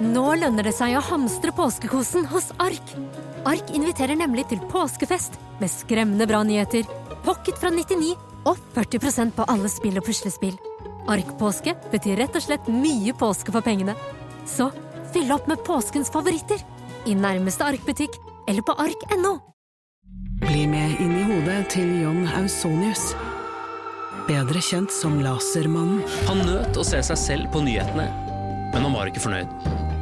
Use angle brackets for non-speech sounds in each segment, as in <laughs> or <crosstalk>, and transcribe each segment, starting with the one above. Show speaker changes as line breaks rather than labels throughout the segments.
Nå lønner det seg å hamstre påskekosen hos Ark. Ark inviterer nemlig til påskefest med skremmende bra nyheter, pocket fra 99 og 40 på alle spill og puslespill. Ark-påske betyr rett og slett mye påske for pengene. Så fyll opp med påskens favoritter i nærmeste Ark-butikk eller på ark.no.
Bli med inn i hodet til John Ausonius. Bedre kjent som Lasermannen.
Han nøt å se seg selv på nyhetene, men han var ikke fornøyd.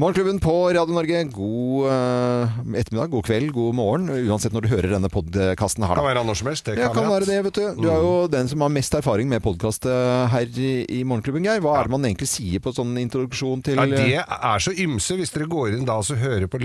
Morgenklubben på Radio Norge, god eh, ettermiddag, god kveld, god morgen, uansett når du hører denne podkasten her.
Kan
da.
være Mm. når som helst. Det
Ja, kan være det, vet du. Du er jo den som har mest erfaring med podkast her i, i Morgenklubben, Geir. Hva er det man egentlig sier på sånn introduksjon til
Ja, det er så ymse. Hvis dere går inn da og så hører på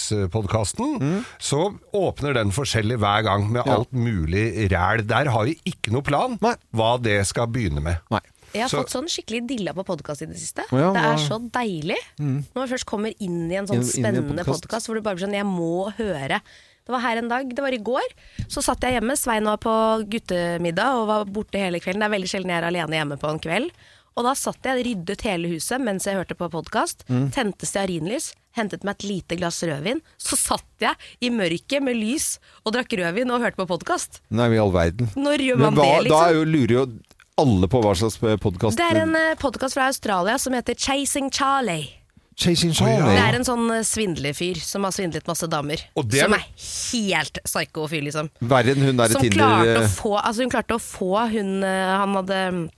langkjøringspodkasten, så åpner den forskjellig hver gang med
Mm. Ja.
alt mulig ræl. Der har vi ikke noe plan
Nei.
hva det skal begynne med.
Nei.
Jeg har
Så-
fått sånn skikkelig dilla på podkast i det siste.
Å ja,
det
hva- Mm.
er så deilig. Når man først kommer inn i en sånn
Inn- inn i en
spennende
podcast.
podkast hvor du bare blir sånn Jeg må høre. Det var her en dag, det var i går. Så satt jeg hjemme. Svein var på guttemiddag og var borte hele kvelden. Det er veldig sjelden jeg er alene hjemme på en kveld. Og da satt jeg, ryddet hele huset mens jeg hørte på podkast.
Mm.
Tente stearinlys. Hentet meg et lite glass rødvin. Så satt jeg i mørket med lys og drakk rødvin og hørte på podkast.
Nei, i all verden.
Når gjør
Men
man
hva,
det,
da
liksom?
er jo, lurer jo alle på hva slags eh, podkast
Det er en podkast fra Australia som heter Chasing Charlie.
Chasing Charlie.
Det er en sånn eh, svindlefyr som har svindlet masse damer.
Og det er
som
vel-
er helt psyko fyr, liksom.
Verre enn hun der
Som
i Tinder
klarte å
eh,
få, altså hun klarte å få hun eh, han hadde mm,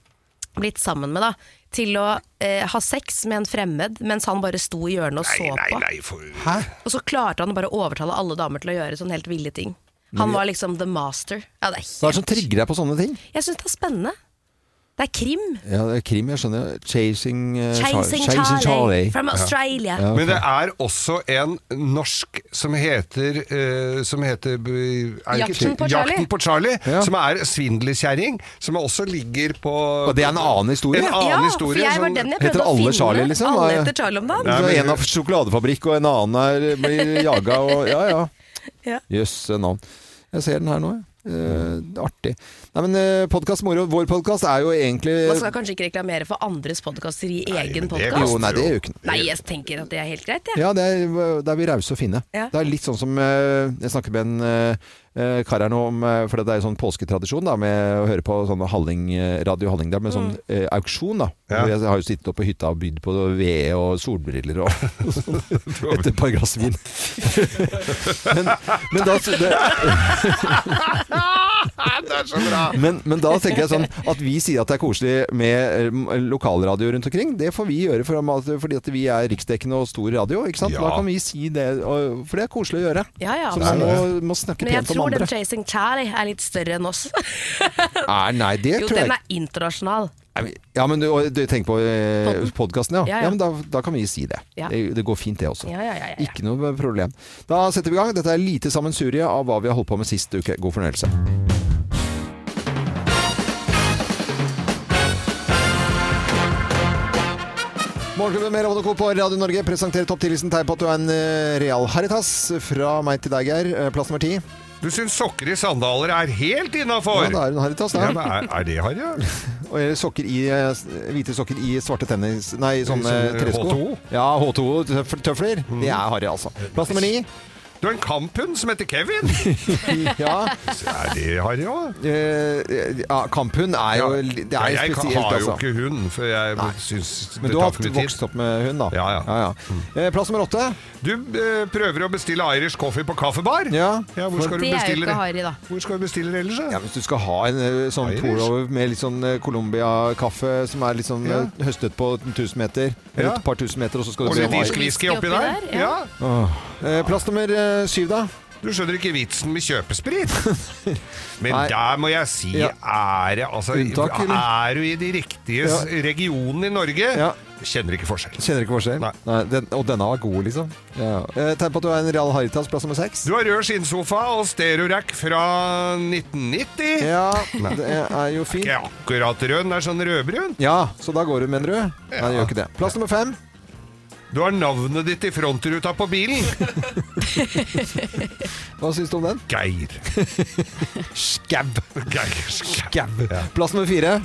blitt sammen med, da, til å eh, ha sex med en fremmed mens han bare sto i hjørnet og så
Nei, nei,
på.
nei, for...
Hæ?
Og så klarte han bare å overtale alle damer til å gjøre sånne helt ville ting. Han var liksom the master. Ja, det er
Hva er det
helt...
som trigger deg på sånne ting?
Jeg syns det er spennende. Det er krim.
Ja, det er krim, jeg skjønner. Chasing, eh, Char-
Chasing Charlie from Australia.
Ja.
Men det er også en norsk som heter, eh, som heter b- er det ikke-
Jakten på Charlie.
Jakten på Charlie
Ja.
Som er svindelkjerring, som også ligger på
Og det er en annen historie?
En annen
ja,
historie,
for jeg var
sånn-
den jeg
Heter
prøvde å
alle
finne.
Charlie, liksom?
Alle
Nei.
heter Charlie om dagen.
Så
Nei, men-
en av sjokoladefabrikk og en annen her blir jaga og Ja ja.
<laughs> Ja.
Jøsse navn. Jeg ser den her nå, jeg. Eh, artig. Nei, men eh, podkast moro. Vår podkast er jo egentlig
Man skal kanskje ikke reklamere for andres podkaster i egen
men det-
podkast?
Jo, nei, det er jo ikke noe.
Nei, jeg tenker at det er helt greit, jeg.
Ja, det er, det er vi rause og fine.
Ja.
Det er litt sånn som eh, Jeg snakket med en eh, eh, kar her nå om eh, For det er jo sånn påsketradisjon da med å høre på sånn Halling, eh, Radio Halling der med sånn
Mm.
eh, auksjon, da.
Ja.
Hvor Jeg har jo sittet oppe på hytta og bydd på ved og solbriller og <laughs> sånn etter et par glass vin. men, men da <laughs> det,
Det er så bra!
Men, men da tenker jeg sånn at vi sier at det er koselig med eh, lokalradio rundt omkring. Det får vi gjøre for, at- fordi at vi er riksdekkende og stor radio. Ikke sant?
Ja.
Da kan vi si det, og, for det er koselig å gjøre.
Ja, ja,
Så man må,
absolutt.
må snakke
Men jeg
pent om
tror den
andre.
Chasing Charlie er litt større enn oss. <laughs>
Nei, nei, det
Jo,
tror jeg
den
ikke.
er internasjonal.
Nei, men- Ja, men du, og du tenker på eh, podkasten, ja.
Ja,
Ja,
ja.
men da, da kan vi si det.
Ja.
det. Det går fint, det også.
Ja, ja, ja, ja, ja.
Ikke noe problem. Da setter vi i gang. Dette er lite sammensurie av hva vi har holdt på med sist uke. God fornøyelse. Morgenklubben med Ravn og Co. på Radio Norge presenterer topp 10-listen tegn på at du er en eh, real haritas. Fra meg til deg, Geir. Eh, Plass nummer ti.
Du syns sokker i sandaler er helt
Ja,
innafor?
det er en haritas,
Ja,
da.
men er, er det harry? ja?
Og eller sokker i, eh, s- hvite sokker i svarte tennis... Nei, sånne
Sånne
tresko.
H2O?
Ja, H2O-tøfler.
Mm.
Det er harry, altså. Plass nummer
<laughs>
ni.
Du har en kamphund som heter Kevin!
Ja,
Er det harry òg?
eh, ja Kamphund er jo li- Det er jo
jeg
spesielt,
har jo
altså.
ikke hund, for jeg syns
Men
det
du har
tar for mye
vokst
tid.
opp med hund, da.
Ja, ja. Mm.
Eh, Plass nummer åtte.
Du eh, prøver å bestille Irish coffee på kaffebar?
Ja.
hvor skal du
Det er jo
bestille
ikke
det?
harry, da.
Hvor skal du bestille det ellers?
Ja,
da?
Hvis du skal ha en eh, sånn
Irish.
pullover med litt sånn eh, Colombia-kaffe som er litt sånn
Ja.
eh, høstet på 1000 meter, eller
Ja.
et par tusen meter, og så skal du
Og litt
ha
irsk whisky oppi
Whisky oppi
der?
der, ja.
Ja.
Eh, Plass nummer eh, syv, da.
Du skjønner ikke vitsen med
<laughs>
kjøpesprit. Men
Nei.
der må jeg si
Ja.
er det altså,
Unntak, eller?
Er du i de riktige s- regionene i Norge,
Ja.
kjenner ikke forskjell.
Kjenner ikke forskjell?
Nei.
den, og denne var god, liksom. Ja. Eh, Tegn på at du er en Real Haritas plass nummer seks.
Du har rød skinnsofa og stereorack fra 1990.
Ja, det er jo fint.
Ikke akkurat rød, den er sånn rødbrun.
Ja, så da går du med en rød? Nei, det gjør ikke det. Plass nummer fem.
Du har navnet ditt i frontruta på bilen.
Hva syns du om den?
Geir.
Skab.
Geir Skau.
Skab. Plass nummer fire.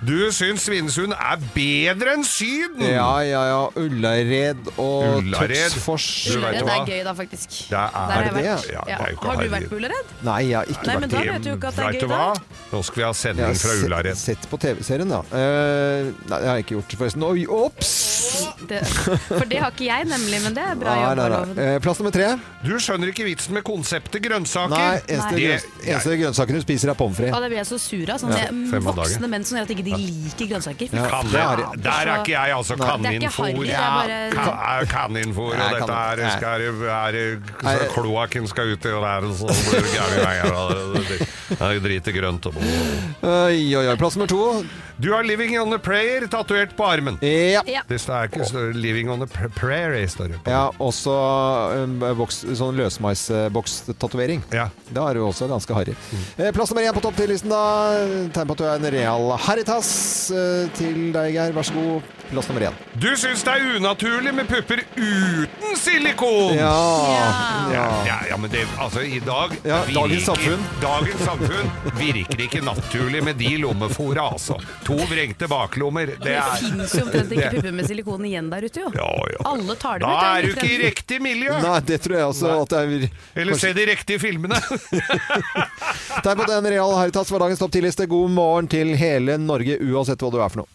Du syns Svinesund er bedre enn Syden!
Ja, ja, ja. Ullared og
Mm. Ullared.
Tøtsfors.
Du vet
Ullared
hva?
er gøy, da, faktisk.
Det er,
Der har jeg
det, ja?
vært.
Ja, det
Ja.
er jo ikke
Har du
herlig.
vært på Ullared?
Nei, jeg har ikke
Nei,
vært
men da vet du jo ikke at det er
Vet
gøy,
du
da.
hva? Nå skal vi
Jeg har
ha sending fra
se-
Ullared.
Sett på TV-serien, da. Eh, nei, det har jeg ikke gjort, forresten. Oi, ops!
Det, for det har ikke jeg, nemlig, men det er
<laughs>
bra
Nei,
jobba,
nei, nei.
Loven.
Eh, plass nummer tre.
Du skjønner ikke vitsen med konseptet grønnsaker.
Nei, eneste,
Det-
grønns eneste grønnsaken du spiser, er pommes
Ja,
frites.
det blir jeg så sur av. Sånn, det-
Ja, fem av dagen.
voksne menn som gjør at ikke de liker grønnsaker. Fy
Ja.
Kan
Det er-
jeg- der er ikke jeg, altså.
Det er ikke
Kaninfôr.
harry, det er bare-
ka- kaninfôr, og
Nei,
dette
kanin-
er,
nei.
skal, er,
Nei.
er Kloakken skal ut i og der, og så blir det gærne greier, og det- det er drit i grønt. og-
Oi, oi, oi. Plass nummer to.
Du har 'Living on a Prayer' tatovert på armen.
Ja.
Det står ikke står 'Living on a Pra- Prairie'. står det på.
Ja, også en boks, sånn løsmaisboks-tatovering.
Ja.
Da er du også ganske harry. Eh, Plass nummer én på topp 10-listen, da. Tegn på at du er en real harritas. Eh, Til deg, Geir. Vær så god. Plass nummer én.
Du syns det er unaturlig med pupper uten silikon!
Ja.
Ja, ja, ja, men det, altså i dag
Ah. Ja,
virker-
dagens samfunn.
Dagens samfunn virker ikke naturlig med de lommefora, altså. To vrengte baklommer, det
Det
er
fins jo omtrent ikke pupper med silikon igjen der ute, jo.
ja, ja.
Alle tar dem
Da
ut.
er du ikke i riktig miljø!
Nei, det tror jeg også at det er
Eller se de
<laughs>
riktige filmene.
Tegn på at du er en real harritas var dagens topp 10-liste. God morgen til hele Norge, uansett hva du er for noe.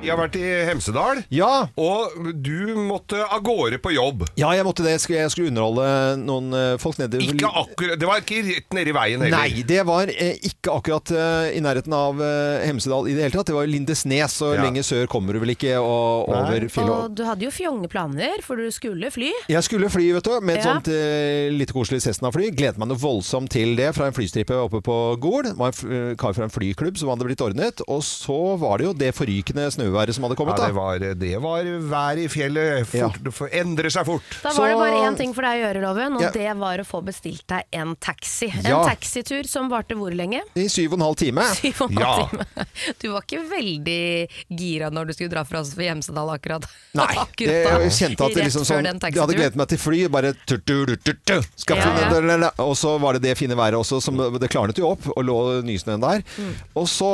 Jeg har vært i Hemsedal,
Ja,
og du måtte av gårde på jobb.
ja jeg måtte det. Jeg skulle- Jeg skulle underholde noen eh, folk nede
Ikke akkurat, Det var ikke rett nedi veien heller.
Nei, det var eh, ikke akkurat eh, i nærheten av eh, Hemsedal i det hele tatt. Det var Lindesnes, og
Ja.
lenger sør kommer du vel ikke og, over fjellet.
Og du hadde jo fjonge planer, for du skulle fly.
Jeg skulle fly, vet du, med et
Ja.
sånt eh, litt koselig Cessna-fly. Gledet meg noe voldsomt til det fra en flystripe oppe på Gol. Det var en f eh, kar fra en flyklubb som hadde blitt ordnet. Og så var det jo det forrykende snøværet som hadde
Ja,
kommet,
det,
da.
var, det var vær i fjellet.
Ja.
Fort, det for- endrer seg fort.
<laughs>
Da
Så-
var det bare én ting for deg å gjøre, Loven, og
Ja.
det var å få bestilt deg en taxi.
Ja.
En taxitur som varte hvor lenge? <laughs>
I syv og en halv time.
Syv og en
Ja.
halv time. Du var ikke veldig gira når du skulle dra fra oss for Hjemsedal akkurat.
<laughs> Nei,
akkurat
det, jeg kjente at det liksom sånn Jeg hadde gledet meg til fly, bare tu, tu, tu, tu, tu, skal
Ja, ja.
fly- Og så var det det fine været også, som det klarnet jo opp, og lå nysnøen der.
Mm.
Og så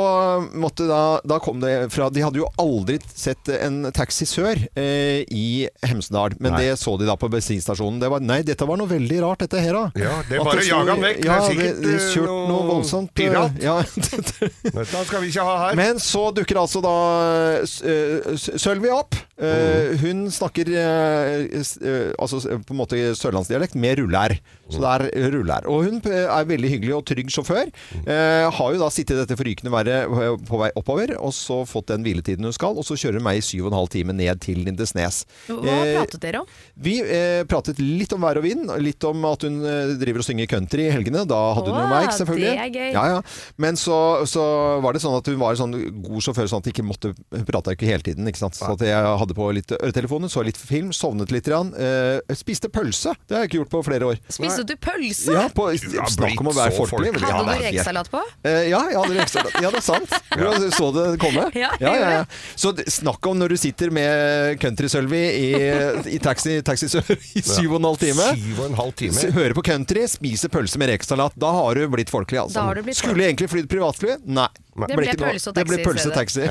måtte da Da kom det fra De hadde jo aldri sett en taxi sør eh, i Hemsedal, men
Nei.
det så de da på bensinstasjonen. Det var Nei, dette var noe veldig rart, dette her, da.
Ja, det er
At
bare å
sto-
jage han vekk. Det er
Ja, det,
sikkert,
det
eh,
kjørt noe
noe
voldsomt. eh,
pirat.
Ja, <laughs> det,
Dette skal vi ikke ha her.
men så dukker altså da eh, S- eh, S- Sølvi opp. Eh, Hun snakker eh, s- eh, altså s- på en måte sørlandsdialekt med rullær. Så det er eh, rullær. Og hun p- er veldig hyggelig og trygg sjåfør. Eh, Har jo da sittet i dette forrykende været på- på vei oppover, og så fått den hviletiden hun skal, og så kjører hun meg i syv og en halv time ned til Lindesnes.
Hva
Eh,
pratet dere om?
vi eh, pratet litt om vær og vind, og litt om at hun eh, driver og synger country i helgene. Da hadde hun jo
Åh,
meg, selvfølgelig.
det er gøy.
Ja, ja. Men så, så var det sånn at hun var en sånn god sjåfør, sånn at jeg ikke måtte prate ikke hele tiden. Ikke sant? Så at jeg hadde på litt øretelefoner, så litt film, sovnet litt. Grann, eh, spiste pølse. Det har jeg ikke gjort på flere år.
Spiste du pølse?
Ja, på,
har
snakk om å
blitt
være
så
folkelig.
folkelig.
vel, ja, det
Hadde du
er helt-
rekesalat på?
Eh, ja, jeg hadde rekesalat. Ja, det er sant. Du så det komme?
<laughs> Ja, jeg gjorde det.
Så d- snakk om når du sitter med country-Sølvi i, i taxi, taxi Sør i syv og en halv time.
Syv og en halv time.
s- Hører på country, spiser pølse med rekesalat. Da har du blitt folkelig, altså.
Da har du blitt
Skulle egentlig flydd privatfly? Nei.
Det
ble
ble
ikke noe.
pølse og
Det ble
taxi i
pølse og taxi.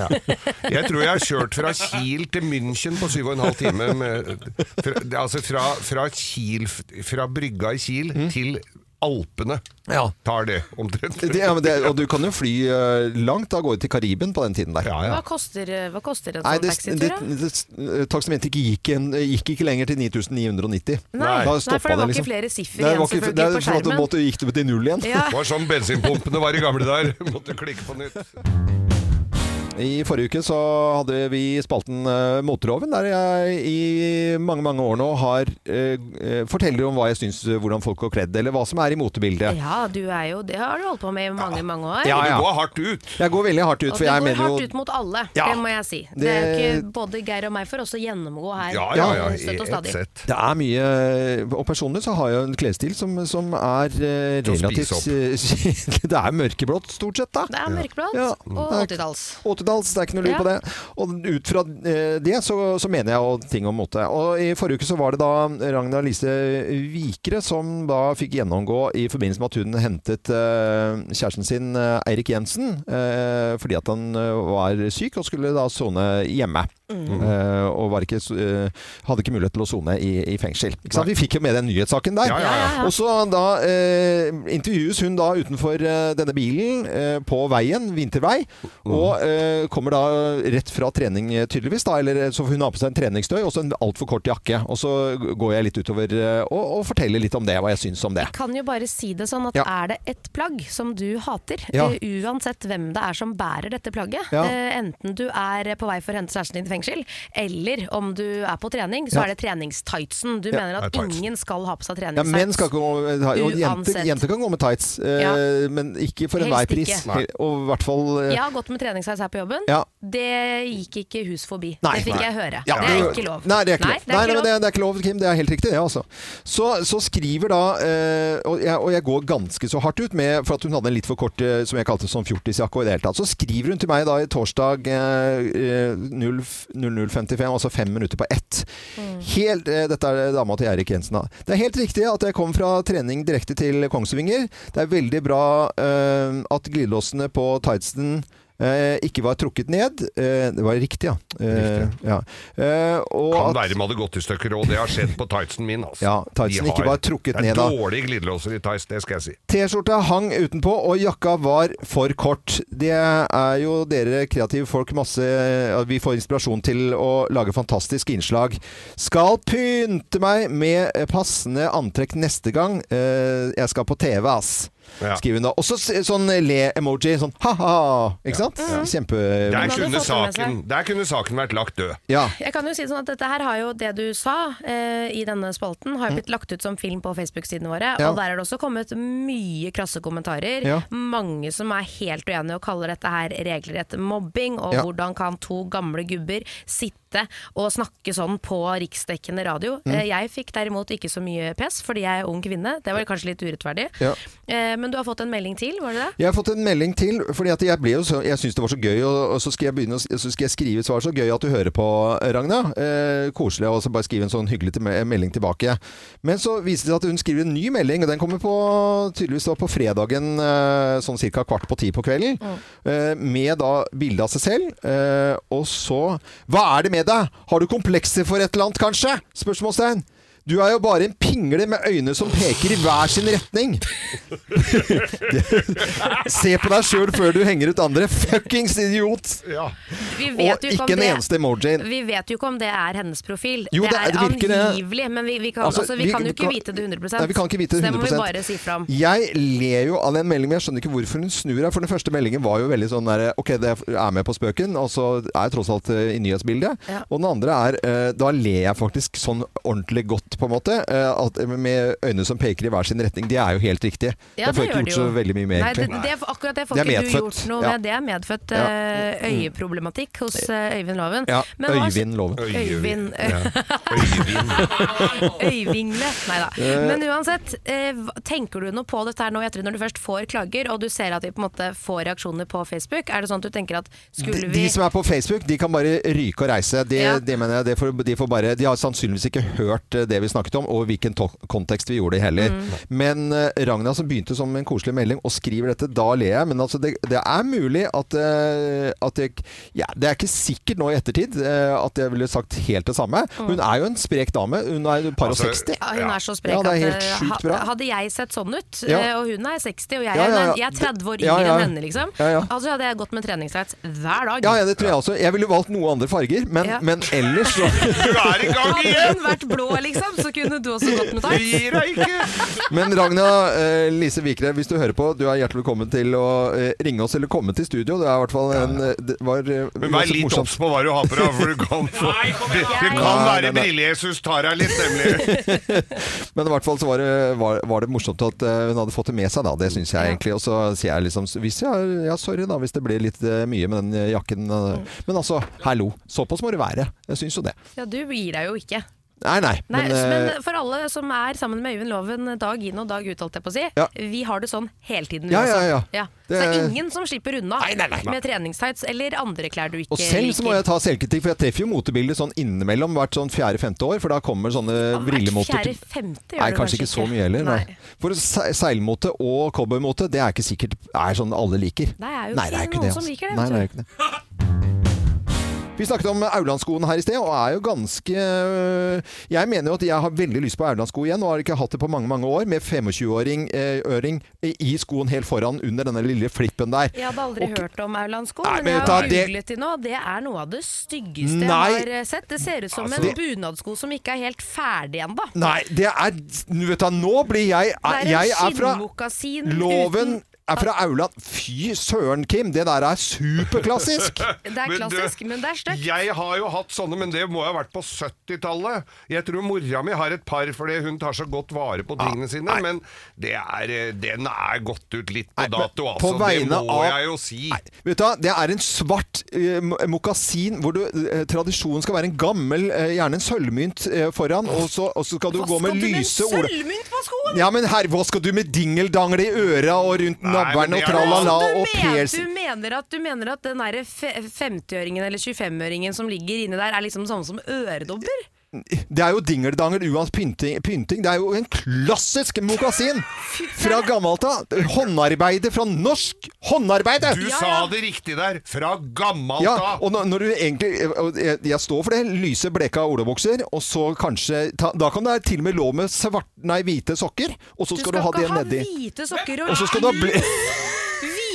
Jeg tror jeg har kjørt fra Kiel til München på syv og en halv time. Med, fra, altså fra, fra, Kiel, fra brygga i Kiel til Alpene
Mm. Ja.
tar det omtrent.
Det, ja, men det, og du kan jo fly eh, langt av gårde til Kariben på den tiden der.
Ja, ja.
Hva koster, hva koster en
Nei, det,
sånn
det,
taxitur? da?
det, eh, taksameteret gikk, en- gikk ikke lenger til 9990.
Nei,
Da
nei, for det
stoppa
var
det,
ikke
liksom.
flere siffer
Nei, det
igjen
var ikke-
selvfølgelig
det er
på
for at du
skjermen.
måtte- gikk det til null igjen.
sånn
Ja.
Det var som bensinpumpene var i gamle dager. Måtte klikke på nytt.
I forrige uke så hadde vi spalten uh, Moteloven, der jeg i mange mange år nå har eh, eh, forteller om hva jeg syns eh, hvordan folk går kledd, eller hva som er i motebildet.
Ja, du er jo Det har du holdt på med i mange, mange år.
Ja,
Og
ja.
du går hardt ut.
Jeg går veldig hardt ut,
Og
for
det
jeg
går
mener jo
hardt ut mot alle,
Ja.
det må jeg si. Det er
Det-
jo ikke både Geir og meg for oss å gjennomgå her.
Ja, ja, ja.
eh, Støtt og
i ett
stadig.
sett.
Det er mye eh, Og personlig så har jeg jo en klesstil som, som er eh,
Til å spise
relativt eh, <laughs> Det er mørkeblått, stort sett, da.
Det er mørkeblått
Ja.
og 80-talls.
80-talls, det er ikke noe lur
Ja.
på det. Og ut fra eh, det så, så mener jeg jo ting om mote. Og i forrige uke så var det da Ragna Lise Vikre som da fikk gjennomgå i forbindelse med at hun hentet eh, kjæresten sin eh, Eirik Jensen eh, fordi at han eh, var syk og skulle da sone hjemme.
Mm.
Eh, og var ikke, s- eh, hadde ikke mulighet til å sone i, i fengsel. Ikke sant? Vi fikk jo med den nyhetssaken der.
Ja, ja, ja.
Og så da eh, intervjues hun da utenfor eh, denne bilen eh, på veien, vintervei, og eh, kommer da rett fra trening eh, tydeligvis da, eller så hun har på seg en treningstøy og så en altfor kort jakke, og så går jeg litt utover eh, og, og forteller litt om det, hva jeg syns om det.
Kan jo bare si det sånn at
Ja.
er det et plagg som du hater,
Ja.
eh, uansett hvem det er som bærer dette plagget,
Ja.
eh, enten du er på vei for å hente kjæresten din i fengsel, eller om du er på trening, så
Ja.
er det treningstightsen. Du mener
det
at
er tightsen.
ingen skal ha på seg
Ja, menn
treningstights.
skal ikke gå med tights, og jenter,
Uansett.
jenter kan gå med tights, eh,
Ja.
men ikke for
Helst
enhver pris.
ikke.
Nei.
Og i hvert fall eh,
jeg har gått med treningstights her på jobben.
Ja.
Det gikk ikke hus forbi.
Nei.
det fikk
Nei.
jeg høre.
Ja,
det er
du-
ikke lov.
Nei, det er ikke lov.
Nei, det er ikke
men
lov.
det, er- det er ikke lov, Kim. Det er helt riktig, det. altså. Så, så skriver da eh, og, jeg, og jeg går ganske så hardt ut, med, for at hun hadde en litt for kort eh, som jeg kalte sånn fjortisjakke. og i det hele tatt. Så skriver hun til meg da i torsdag eh, eh, 0 00.55, altså fem minutter på ett. Helt, eh, dette er dama til Eirik Jensen. da. Det er helt riktig at jeg kom fra trening direkte til Kongsvinger. Det er veldig bra eh, at glidelåsene på tightsen eh, ikke var trukket ned. Eh, det var riktig, ja. Eh, ja. Eh, og
Kan
at-
være med hadde gått i stykker, og det har skjedd på tightsen min. Altså.
Ja, tightsen
De
ikke var trukket ned,
Det
da.
er dårlige glidelåser i tights, det skal jeg si.
T-skjorta hang utenpå, og jakka var for kort. Det er jo dere kreative folk masse ja, Vi får inspirasjon til å lage fantastiske innslag. Skal pynte meg med passende antrekk neste gang. Eh, jeg skal på TV, ass.
Ja.
Skriver hun da. Og så s- sånn le-emoji. Sånn ha-ha. Ikke sant? Kjempe...
Der kunne,
hadde fått det med
saken, der kunne saken vært lagt
<laughs>
død.
Ja.
Jeg kan jo si det sånn at dette her har jo det du sa eh, i denne spalten, har jo blitt lagt ut som film på Facebook-sidene våre.
Mm. Ja.
Og der har det også kommet mye krasse kommentarer.
Ja.
Mange som er helt uenige og kaller dette her regelrett mobbing. Og
Ja.
hvordan kan to gamle gubber sitte og snakke sånn på riksdekkende radio?
Mm.
Eh, jeg fikk derimot ikke så mye pes, fordi jeg er ung kvinne. Det var kanskje litt urettferdig.
Ja.
Eh, men du har fått en melding til, var det det?
Jeg har fått en melding til, fordi at jeg, ble jo så, jeg syntes det var så gøy, og, og så, skal jeg begynne, å s- så skal jeg skrive et svar. Så gøy at du hører på, Ragna. Eh, koselig å bare skrive en sånn hyggelig til, melding tilbake. Men så viser det seg at hun skriver en ny melding, og den kommer på, tydeligvis da på fredagen eh, sånn ca. kvart på ti på kvelden. Eh, med da bilde av seg selv. Eh, og så Hva er det med deg? Har du komplekser for et eller annet, kanskje? Spørsmålstegn. Du er jo bare en pingle med øyne som peker i hver sin retning. Se på deg sjøl før du henger ut andre. Fuckings idiot!
Vi vet
Og
jo om
ikke en
det-
eneste emoji.
Vi vet jo ikke om det er hennes profil.
Jo, det
det,
er- det
er
virker det.
angivelig, men vi, vi, kan,
Altså,
altså, vi,
vi-
kan jo
vi
ikke
kan-
vite det 100
Nei, vi kan ikke vite det
Så det må
100
vi bare si fram.
Jeg ler jo av den meldingen, men jeg skjønner ikke hvorfor hun snur her. For den første meldingen var jo veldig sånn der Ok, det er med på spøken, og så er jeg tross alt eh, i nyhetsbildet.
Ja.
Og den andre er eh, Da ler jeg faktisk sånn ordentlig godt, på en måte. eh, At, med øyne som peker i hver sin retning. Det er jo helt riktig.
Ja,
jeg får ikke
det gjør
gjort
det jo.
så veldig mye mer,
Nei, det,
egentlig.
det, akkurat det får
Det er
ikke
medfødt,
du gjort noe
ja.
med. Det er medfødt
Ja. Mm.
eh, øyeproblematikk hos eh, Øyvind Loven.
Ja,
Men hva-
Øyvind Loven.
Øyvind. eh,
Ja. Øyvind.
<laughs> Øyvingle. Nei da. Men uansett, eh, hva- tenker du noe på dette her nå i ettertid, når du først får klager, og du ser at vi på en måte får reaksjoner på Facebook? Er det sånn at du tenker at skulle
De,
vi
de som er på Facebook, de kan bare ryke og reise. Det,
Ja.
det mener jeg, det får, de, får bare, de har sannsynligvis ikke hørt eh, det vi snakket om, og hvilken to kontekst vi gjorde det heller.
Mm.
Men eh, Ragna, som begynte som en koselig melding, og skriver dette, da ler jeg. Men altså, det, det er mulig at, eh, at jeg, ja, Det er ikke sikkert nå i ettertid eh, at jeg ville sagt helt det samme. Hun er jo en sprek dame. Hun er jo par og
Altså,
60.
Mm. Ja, hun
Ja.
er så sprek
Ja, det er
at,
helt
eh,
sjukt bra.
ha- Hadde jeg sett sånn ut,
Ja.
eh, og hun er 60 og jeg,
Ja,
er-
ja, ja.
jeg er 30 år
Det- ja,
yngre
ja.
enn henne, liksom.
Ja, ja.
Altså hadde jeg gått med treningstights hver dag.
Ja, ja, det tror jeg også. Jeg ville valgt noe andre farger, men,
Ja.
men ellers så
Du er i gang
Hadde
igjen!
hun vært blå, liksom,
så kunne du også gått med
Du
tights.
gir deg ikke!
Men Ragna eh, Lise Vikre, hvis du hører på, du er hjertelig velkommen til å eh, ringe oss eller komme til studio. Det er i hvert fall en eh, Det var eh,
Men vær
uansett
litt
morsomt.
obs på hva du har på deg, for du kan få Det det kan
Nei, nei,
være
nei.
Brille-Jesus tar deg litt, nemlig.
Men i hvert fall så var det, var, var det morsomt at eh, hun hadde fått det med seg, da. Det syns jeg egentlig. Og så sier jeg liksom hvis jeg, Ja, sorry da, hvis det ble litt eh, mye med den eh, jakken. eh.
Mm.
Men altså, hallo. Såpass må det være. Jeg syns jo det.
Ja, du gir deg jo ikke.
Nei, nei.
Nei,
men,
men,
eh,
for alle som er sammen med Øyvind Loven dag inn og dag ut, holdt jeg på å si,
Ja.
vi har det sånn hele tiden. vi
Ja, ja,
også.
ja.
Så det
Det-
er ingen som slipper unna
Nei, nei, nei.
med treningstights eller andre klær du ikke
og selv så må jeg ta selvkritikk, for jeg treffer jo motebildet sånn innimellom hvert sånn fjerde-femte år, for da kommer sånne brillemoter til-
Fjerde-femte gjør
Nei,
det
kanskje ikke så mye heller. Nei. For se- seilmote og cowboymote, det er ikke sikkert er sånn alle liker.
Nei, det er jo ikke
det,
noen som
altså.
liker det,
Nei,
vet
det er ikke det. Vi snakket om Aurlandsskoen her i sted, og er jo ganske øh, Jeg mener jo at jeg har veldig lyst på Aurlandssko igjen, og har ikke hatt det på mange mange år, med 25-åring eh, øring i skoen helt foran under denne lille flippen der.
Jeg hadde aldri hørt om Aurlandsko,
Nei,
men
men
jeg
ta
har
det-
googlet det nå. Det er noe av det styggeste
Nei.
jeg har eh, sett. Det ser ut som
Altså,
en
det-
bunadsko som ikke er helt ferdig ennå.
Nei, det er Nå vet du, nå blir jeg
Det er en
Jeg er fra
skinnmokasin
Loven
uten
er fra Aurland. Fy søren, Kim! Det der er
<laughs>
superklassisk!
Det er
Men du-
klassisk, men det er stygt.
Jeg har jo hatt sånne, men det må ha vært på 70-tallet. Jeg tror mora mi har et par fordi hun tar så godt vare på tingene sine,
Ah, nei.
men det er, eh, den er gått ut litt på
Nei, men
dato,
på
altså. Det
vegne
må
av-
jeg jo si.
Nei, vet du, hva? Det er en svart eh, mo- mokasin hvor du, eh, tradisjonen skal være en gammel, eh, gjerne en sølvmynt eh, foran, og så, og så skal du gå med lyse ord.
sølvmynt på skoen?
Ja, men herre, hva skal du med dingeldangle i øra og rundt
Nei,
navlen
men
og
det er-
tralala
du,
og
mener,
piercing?
du, mener at, du mener at den derre fe- 50-øringen eller 25-øringen som ligger inni der, er liksom samme som øredobber?
Det er jo dingeldangel uansett pynting, pynting. Det er jo en klassisk mokasin fra gammelt av. Håndarbeidet fra norsk håndarbeide!
Du
Ja,
sa
ja.
det riktig der! Fra gammelt
Ja,
av!
og når, når du egentlig og jeg, jeg står for det. Lyse, bleka olabukser, og så kanskje ta, Da kan det til og med lov med svart, nei, hvite sokker, og så
Du
skal,
skal
du ha det
ikke ha
nedi.
hvite sokker og
Og så skal du ha ble...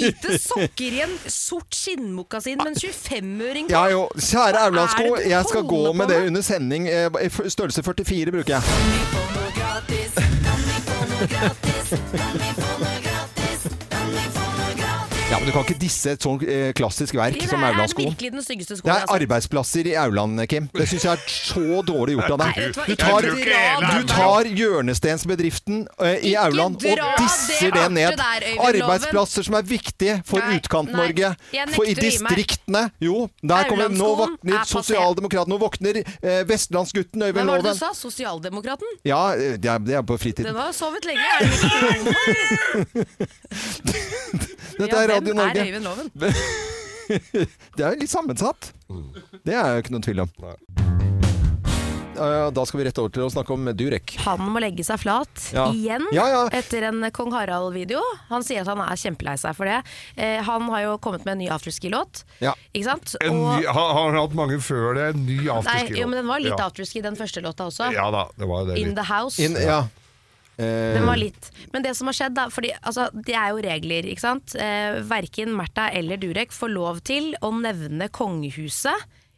hvite sokker i en sort skinnmokasin med en 25-øring
<laughs>
på?
Ja jo, kjære
Hva
Aurlandsko,
er det du
jeg skal gå
holder på
med det
med?
under sending. eh, i f- Størrelse 44 bruker jeg. Ja, men du kan ikke disse et sånt eh, klassisk verk
Det
som
er
Aurlandsko.
virkelig den styggeste skoen.
Det
jeg
er
har sett.
arbeidsplasser i Aurland, Kim. Det syns jeg er så dårlig gjort av
Nei,
deg.
vet du hva,
Du
ikke
tar,
dra
ikke hele
du
det der.
tar hjørnestensbedriften eh, i
Ikke
Aurland og
dra
disser
det
det
artet
ned.
der, Øyvind Loven.
Arbeidsplasser som er viktige for
Nei,
Utkant-Norge.
nei, jeg nekter
For i
å gi meg.
distriktene Jo, der kommer Nå
Aurlandskolen er
våkner
passé.
sosialdemokraten, nå våkner eh, vestlandsgutten
Hvem
Øyvind
var det du
Loven.
sa? Sosialdemokraten?
Ja, eh, det er, det er på fritiden.
Den har sovet lenge. Er den ikke våken nå?
Dette
Ja,
er
hvem
Radio Norge.
Er Øyvind Loven?
Det er jo litt sammensatt. Det er jo ikke noen tvil om. Eh, Da skal vi rett over til å snakke om Durek.
Han må legge seg flat
Ja.
igjen
Ja, ja.
etter en Kong Harald-video. Han sier at han er kjempelei seg for det. Eh, han har jo kommet med en ny afterski-låt.
Ja.
Ikke sant?
En ny, har, har han hatt mange før det? En ny
nei,
afterski?
jo, men den var litt
ja.
afterski, den første låta også.
Ja da, det var jo det.
In the House.
Inn, ja. Eh,
Den var litt. Men det som har skjedd, da fordi, altså, Det er jo regler, ikke sant. Eh, verken Märtha eller Durek får lov til å nevne kongehuset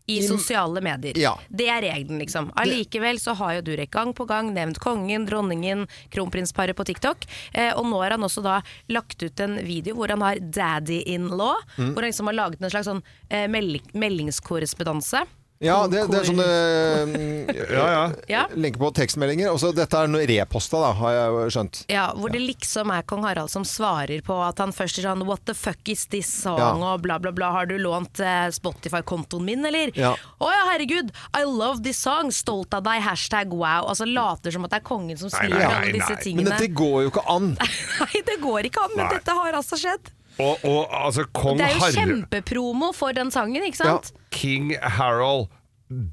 i sosiale medier.
Ja.
Det er regelen, liksom. Allikevel så har jo Durek gang på gang nevnt kongen, dronningen, kronprinsparet på TikTok. Eh, og nå har han også da lagt ut en video hvor han har daddy-in-law. Hvor han liksom har laget en slags sånn eh, melding, meldingskorrespondanse.
ja, det, det er sånne <laughs> eh,
Ja, ja.
Ja.
lenker på tekstmeldinger. Og så dette er noe reposta, da, har jeg jo skjønt.
Ja, hvor det liksom er kong Harald som svarer på at han først er sånn What the fuck is this song?
Ja.
og bla, bla, bla. Har du lånt eh, Spotify-kontoen min, eller? Å
Ja.
ja. herregud! I love this song! Stolt av deg! Hashtag wow! Altså later som at det er kongen som
Nei, nei,
skriver
nei,
alle disse
nei.
Men
tingene.
dette går jo ikke an.
<laughs> Nei, det går ikke an, men
Nei.
dette har altså skjedd.
Og, og altså, kong
Det er jo
Harald
kjempepromo for den sangen, ikke sant?
King Harald,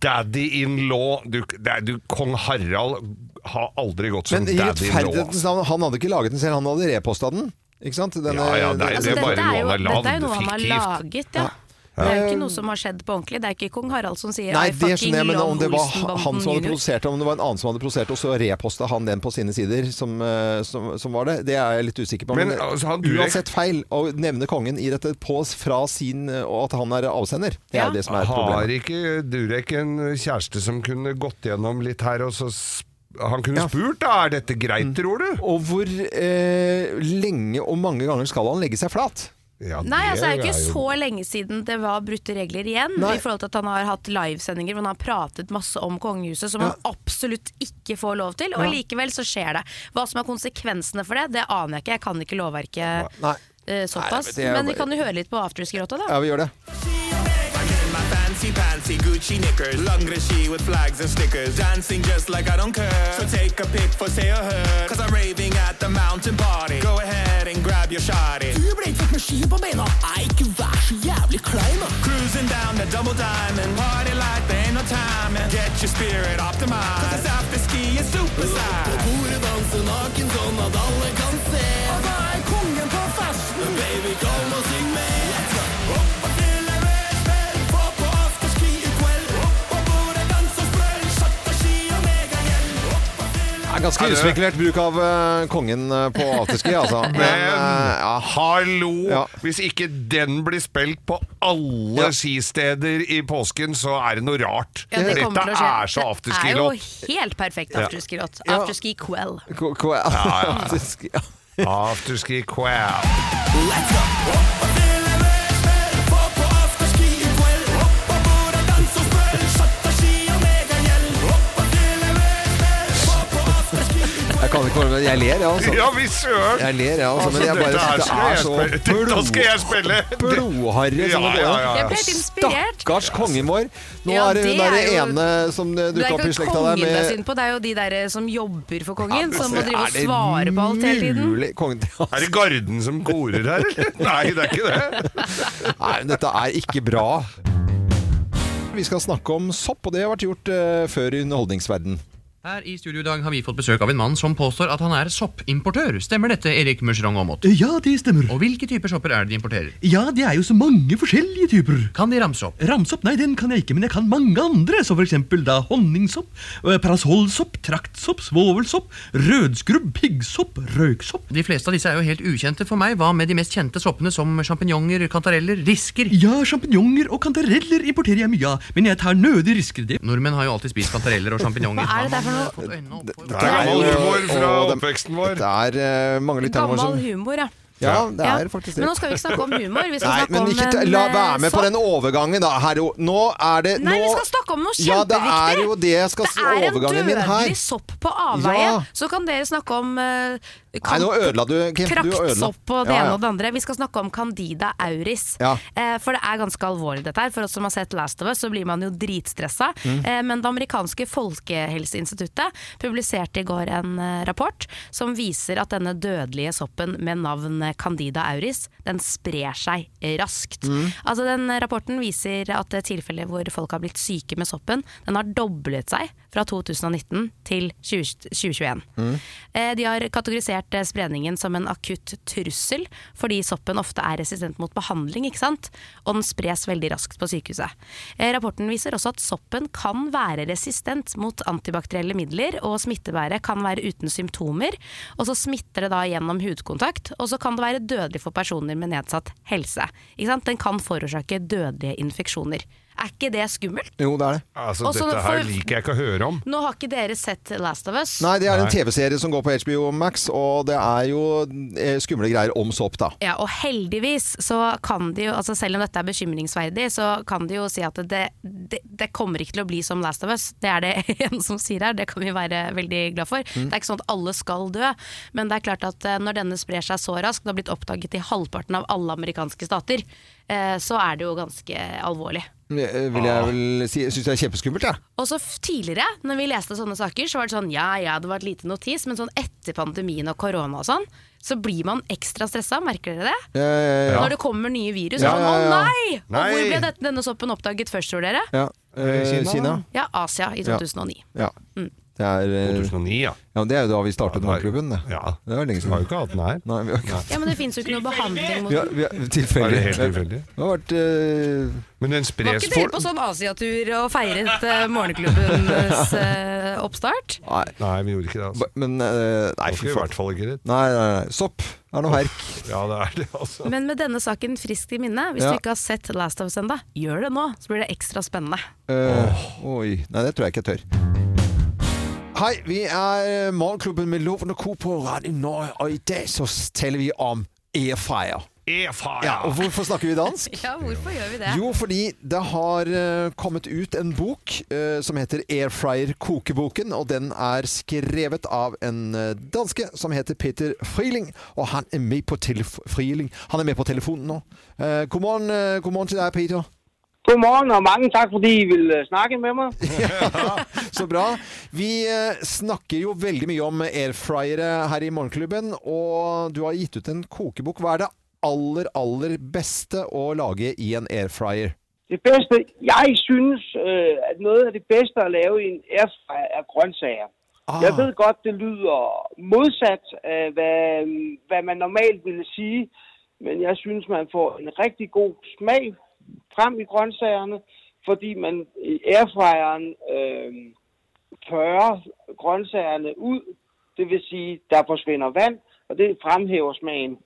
daddy in law du, det er- du, Kong Harald har aldri gått som
Men i
daddy in law.
rettferdighetens navn, han hadde ikke laget den selv, han hadde reposta den. Ikke sant? Denne-
Ja, ja, det er-
Altså,
det er
dette
bare noe
jo-
han har lagd,
Dette er jo noe han har
fiktivt.
laget, ja. Det er jo ikke noe som har skjedd på ordentlig. Det er ikke kong Harald som sier
Nei,
I
det
fucking
skjønner jeg, men
love
om det var
Olsenbanden
han som hadde
junior.
produsert det, om det var en annen som hadde produsert det, og så reposta han den på sine sider, som, eh, som, som var det, det er jeg litt usikker på. eh,
Men, altså, han Durek-
uansett feil å nevne kongen i dette på fra sin eh, Og at han er avsender. Det er
Ja.
jo det som er
Har
problemet.
ikke Durek en kjæreste som kunne gått gjennom litt her og så s- Han kunne spurt da, er dette
Mm.
greit, tror du?
Og hvor eh, lenge og mange ganger skal han legge seg flat?
Ja,
Nei, altså, det er jo
jo-
ikke så lenge siden det var brutte regler igjen.
Nei.
I forhold til at han har hatt livesendinger hvor han har pratet masse om kongehuset, som han absolutt ikke får lov til. Og likevel så skjer det. Hva som er konsekvensene for det, det aner jeg ikke. Jeg kan ikke lovverket
Nei.
eh, såpass.
Nei, men det er jo
men vi
bare-
kan jo høre litt på afterski-gråta, da.
Ja, vi gjør det.
I get my fancy pantsy Gucci knickers, Langrashi with flags and stickers, dancing just like I don't care. So take a pic for say or her, cause I'm raving at the mountain party. Go ahead and grab your shotty. Du ble ikke med ski på beina. Ei, ikke vær så jævlig klein, da. Cruising down the double diamond, party like there ain't no time. And get your spirit optimized, cause it's after ski is super På bordet danse naken sånn at alle kan se. Og da er kongen på festen. Baby, kom og syng med. Let's go. Opp og til en rød kveld, få på afterski i kveld. Opp og bordet danse sprøl, shotterski og megagjeld. Opp og til en
Det er ganske
det-
uspekulert bruk av eh, kongen eh, på afterski,
<laughs>
altså. Men,
Men
eh, ja.
hallo!
Ja.
Hvis ikke den blir spilt på alle
Ja.
skisteder i påsken, så er det noe rart.
Ja, det kommer
Dette
til å skje.
er så
Det er jo
afterski-låt.
helt perfekt afterski-låt.
Ja.
Afterski kveld.
K- k- <laughs> afterski, ja.
Afterski quail.
Let's go! Opp og til en rød kveld, få på afterski i kveld. Opp og bordet danse sprøl, shotterski og megagjeld. Opp og til en rød kveld, få på afterski i kveld.
Jeg kan ikke være med. Jeg ler, jeg, altså.
<laughs> Ja, vi søren!
Jeg ler, jeg, altså. Men
Altså,
jeg bare
dette
synes
her skal jeg <laughs>
det er så
spille- Dette skal jeg spille!
blodharry som det går
Ja,
an.
ja, ja,
Jeg
ja.
ble helt inspirert.
Stakkars kongen vår. Nå
Ja,
er det hun
det
der
er jo-
ene som
Det
dukka
er
opp i
ikke
slekta
kongen
der
det er
med
synd på, det er jo de der eh, som jobber
Ja,
for kongen,
men
som
altså,
må drive
er
og
det
svare på alt hele tiden.
mulig? Kongen, <laughs>
Er det Garden som korer her, <laughs> eller? Nei, det er ikke det.
Nei, men dette er ikke bra. Vi skal snakke om sopp, og det har vært gjort eh, før i underholdningsverden.
Her i studio i dag har vi fått besøk av en mann som påstår at han er soppimportør. Stemmer dette, Erik Mørserong Aamodt?
Ja, det stemmer.
Og hvilke typer sopper er det de importerer?
Ja, det er jo så mange forskjellige typer.
Kan de ramse opp?
Ramse opp? Nei, den kan jeg ikke, men jeg kan mange andre, som for eksempel da honningsopp, eh, parasollsopp, traktsopp, svovelsopp, rødskrubb, piggsopp, røyksopp.
De fleste av disse er jo helt ukjente for meg. Hva med de mest kjente soppene som sjampinjonger, kantareller, risker?
Ja, sjampinjonger og kantareller importerer jeg mye av, men jeg tar nødig risker det.
Nordmenn har jo alltid spist kantareller og sjampinjonger.
Hva er det der for noe?
noe?
Det er gammel
jo-
humor fra
og dem-
oppveksten vår.
Det er eh, mange lyttere vår
Gammel
som
humor, ja.
Ja, det
Ja,
er faktisk det.
Men nå skal vi ikke snakke om humor. Vi skal
Nei,
snakke
men
om
ikke, ta-
en,
la,
eh,
vær med på
sopp.
den overgangen, da. Her, jo- nå er det
Nei,
nå,
vi skal snakke om noe kjempeviktig!
Ja, det er jo det jeg skal
Det er en
overgangen min her.
dødelig sopp på avveie.
Ja.
Så kan dere snakke om eh,
Nei, nå
kant-
ødela du, Kim. Du ødela.
Traktsopp og det
Ja, ja.
ene og det andre. Vi skal snakke om Candida auris.
Ja.
Eh, for det er ganske alvorlig dette her. For oss som har sett Last of Us, så blir man jo dritstressa.
Mm.
Eh, men det amerikanske folkehelseinstituttet publiserte i går en eh, rapport som viser at denne dødelige soppen med navn Candida auris, den sprer seg eh, raskt.
Mm.
Altså den Rapporten viser at det er tilfeller hvor folk har blitt syke med soppen, den har doblet seg fra 2019 til 20, 2021. Eh, De har kategorisert eh, spredningen som en akutt trussel, fordi soppen ofte er resistent mot behandling, ikke sant? og den spres veldig raskt på sykehuset. Eh, Rapporten viser også at soppen kan være resistent mot antibakterielle midler, og smittebæret kan være uten symptomer, og så smitter det da gjennom hudkontakt, og så kan det være dødelig for personer med nedsatt helse. Ikke sant? Den kan forårsake dødelige infeksjoner. Er ikke det skummelt?
Jo, det er Eh, det.
Altså,
Og så
dette her
får-
liker jeg ikke å høre om.
Nå har ikke dere sett Last of Us.
Nei, det er en TV-serie som går på HBO Max, og det er jo eh, skumle greier om sopp, da.
Ja, og heldigvis så kan de jo, altså selv om dette er bekymringsverdig, så kan de jo si at det, det, det kommer ikke til å bli som Last of Us. Det er det <laughs> en som sier her, det kan vi være veldig glad for. Det er ikke sånn at alle skal dø, men det er klart at eh, når denne sprer seg så raskt, den har blitt oppdaget i halvparten av alle amerikanske stater, eh, så er det jo ganske alvorlig.
Eh, Vil
Ah.
jeg vel si. Syns jeg er kjempeskummelt, jeg.
Og så f- tidligere, når vi leste sånne saker, så var det sånn ja ja, det var et lite notis, men sånn etter pandemien og korona og sånn, så blir man ekstra stressa, merker dere det?
Ja. Eh,
Når det kommer nye virus.
Ja,
er det
ja, ja.
sånn, Å nei! Og hvor
Nei.
ble dette, denne soppen oppdaget først, tror dere?
ja. Eh,
Kina,
Kina?
Ja, Asia i 2009.
Ja.
Mm.
Det er, eh,
2009, ja.
ja, det er jo da vi startet
Ja, det var-
Morgenklubben, det.
Ja.
Det var lenge
Vi har
siden.
jo ikke hatt den her.
Nei, vi har ikke
Ja, men det fins jo ikke noe behandling mot
vi har,
den.
vi har,
Er det
Tilfeldig.
helt tilfeldig?
Det har vært eh,
Men den
Var
spres
ikke dere på
for
sånn Asiatur og feiret eh, morgenklubbens eh, oppstart?
Nei,
Nei, vi gjorde ikke det. Altså.
ba- men eh, Nei,
Det var
fy
ikke, I
faen.
hvert fall ikke det.
Nei, nei, nei. Sopp er noe herk.
Ja, det er det, altså.
Men med denne saken friskt i minne, hvis
Ja.
du ikke har sett Last of Us ennå, gjør det nå, så blir det ekstra spennende.
Eh, Oi. Nei, det tror jeg ikke jeg tør. Hei, vi er eh, Morgenklubben med Loven og Co. på Radio Norge, og i dag så taler vi om airfryer.
E, E-far!
Ja, og hvorfor snakker vi dansk?
Ja, hvorfor gjør vi det?
Jo, fordi det har eh, kommet ut en bok eh, som heter Airfryer kokeboken, og den er skrevet av en eh, danske som heter Peter Frieling, og han er med på, telef Frieling. Han er med på telefonen nå. Eh, god, morgen, eh, god morgen til deg, Peter.
Godmorgen, og mange tak, fordi I ville øh, snakke med mig.
Så bra. Vi eh, snakker jo veldig mye om airfryere her i Morgenklubben, og du har gitt ut en kokebok. Hva er det aller, aller beste å lage i en airfryer?
Det bedste, jeg synes, øh, at noget af det bedste at lave i en airfryer er grøntsager.
Ah.
Jeg ved godt, det lyder modsat af, hvad, hvad man normalt ville sige, men jeg synes, man får en rigtig god smag frem i grøntsagerne, fordi man i airfryeren øh, tørrer grøntsagerne ud, det vil sige, der forsvinder vand, og det fremhæver smagen.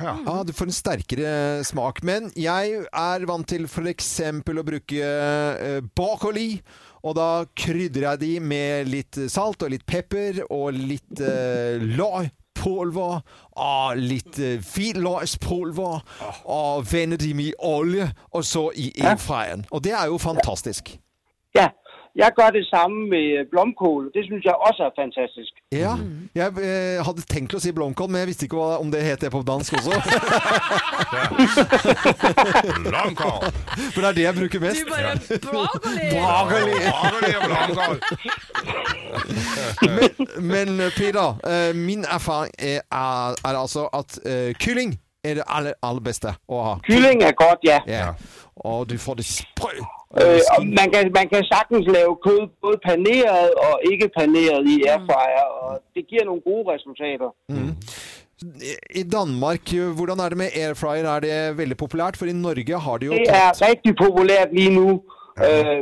Ja. du får en sterkere smak. Men jeg er vant til f.eks. å bruke eh, broccoli. Og da krydrer jeg de med litt salt og litt pepper og litt eh, løkpulver og litt eh, hvitløkspulver. Og vender dem i olje, og så i airfryeren. Og det er jo fantastisk.
Ja, jeg gør det samme med øh, blomkål. Det synes jeg også er fantastisk.
Ja, jeg eh, hadde tenkt å si blomkål, men jeg visste ikke hva, om det het det på dansk også. <laughs>
Blomkål!
For det er det jeg bruker mest.
bare broccoli!
Broccoli.
Broccoli og blomkål!
Men Peder, eh, min erfaring er, er, er altså at eh, kylling er det aller, aller beste å ha.
Kylling er godt, ja.
Ja. Og du får det sprø.
Øh, og man, kan, man kan sagtens lave kød både paneret og ikke paneret i airfryer, og det giver nogle gode resultater.
I Danmark, eh, hvordan er det med airfryer? Er det veldig populært? For i Norge har de jo
Det er
tatt
rigtig populært lige nu. Øh,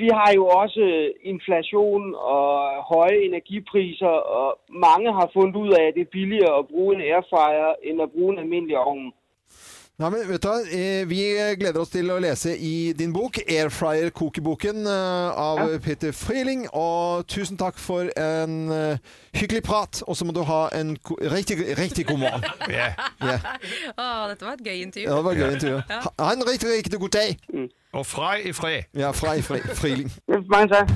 vi har jo også øh, inflation og høje energipriser, og mange har fundet ud af, at det er billigere at bruge en airfryer, end at bruge en almindelig ovn.
Nei, men vet du, hva, eh, Vi gleder oss til å lese i din bok, 'Airfryer-kokeboken' eh, av Peter Frieling. Og tusen takk for en eh, hyggelig prat, og så må du ha en ko- riktig, riktig god morgen.
Ja.
Å, dette var et gøy intervju.
Ja, det var et gøy intervju. Ha- Ha en riktig, riktig god dag!
Og frai i fred.
Ja, fra i fri, Friling.
Ja, mange tak.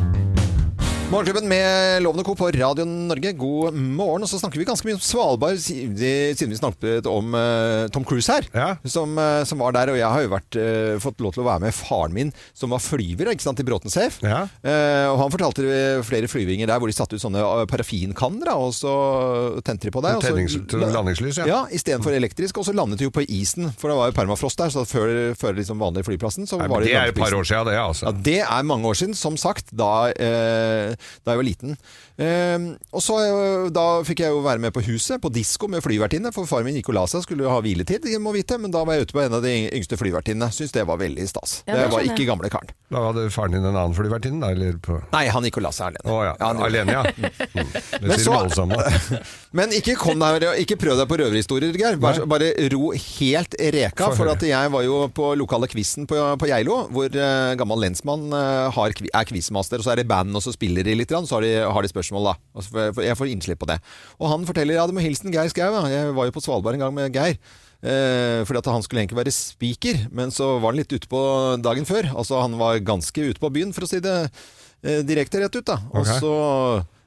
Morgenklubben med Lovende Co. på Radio Norge, god morgen. Og så snakker vi ganske mye om Svalbard, si- de- siden vi snakket om eh, Tom Cruise her.
Ja.
Som, eh, som var der. Og jeg har jo vært, eh, fått lov til å være med faren min, som var flyver ikke sant, i Bråten Safe.
Ja.
Eh, og han fortalte eh, flere flyvinger der hvor de satte ut sånne eh, parafinkanner, da, og så tente de på det. og så-
Tennings- til landingslys, ja.
ja. Istedenfor elektrisk. Og så landet de jo på isen, for det var jo permafrost der. Så før, før liksom vanlig flyplassen, så
Nei,
var
men det
landet
er et
på
par
isen.
år siden, det, altså.
Ja, det er mange år siden, som sagt, da, eh, da jeg var liten. Eh, og så eh, da fikk jeg jo være med på huset, på disko med flyvertinne, for faren min gikk og la seg, skulle jo ha hviletid, jeg må vite, men da var jeg ute på en av de yngste flyvertinnene. Syns det var veldig stas.
Ja,
det
det
var
skjønner
ikke gamle karen.
Da hadde faren din en annen flyvertinne, da? Eller på
Nei, han gikk og la seg alene.
Å ja.
han gjorde det. <laughs>
Alene, ja. Mm. Det
Men
sier
så-
de alle sammen.
<laughs> Men ikke, kom deg, ikke prøv deg på røverhistorier, Geir. Bare,
Nei.
bare ro helt reka.
Få
For
høre.
at jeg var jo på lokale quizen på, på Geilo, hvor eh, gammel lensmann eh, har, kvi- er quizmaster. Og så er det band, og så spiller de litt, grann, så har de, har de spørsmål, da. Og så får jeg- jeg får innslipp på det. Og han forteller ja, du må hilsen Geir Skau. ja. Jeg var jo på Svalbard en gang med Geir. Eh, fordi at han skulle egentlig være spiker, men så var han litt ute på dagen før. Altså han var ganske ute på byen, for å si det eh, direkte rett ut, da. Og
Ok.
så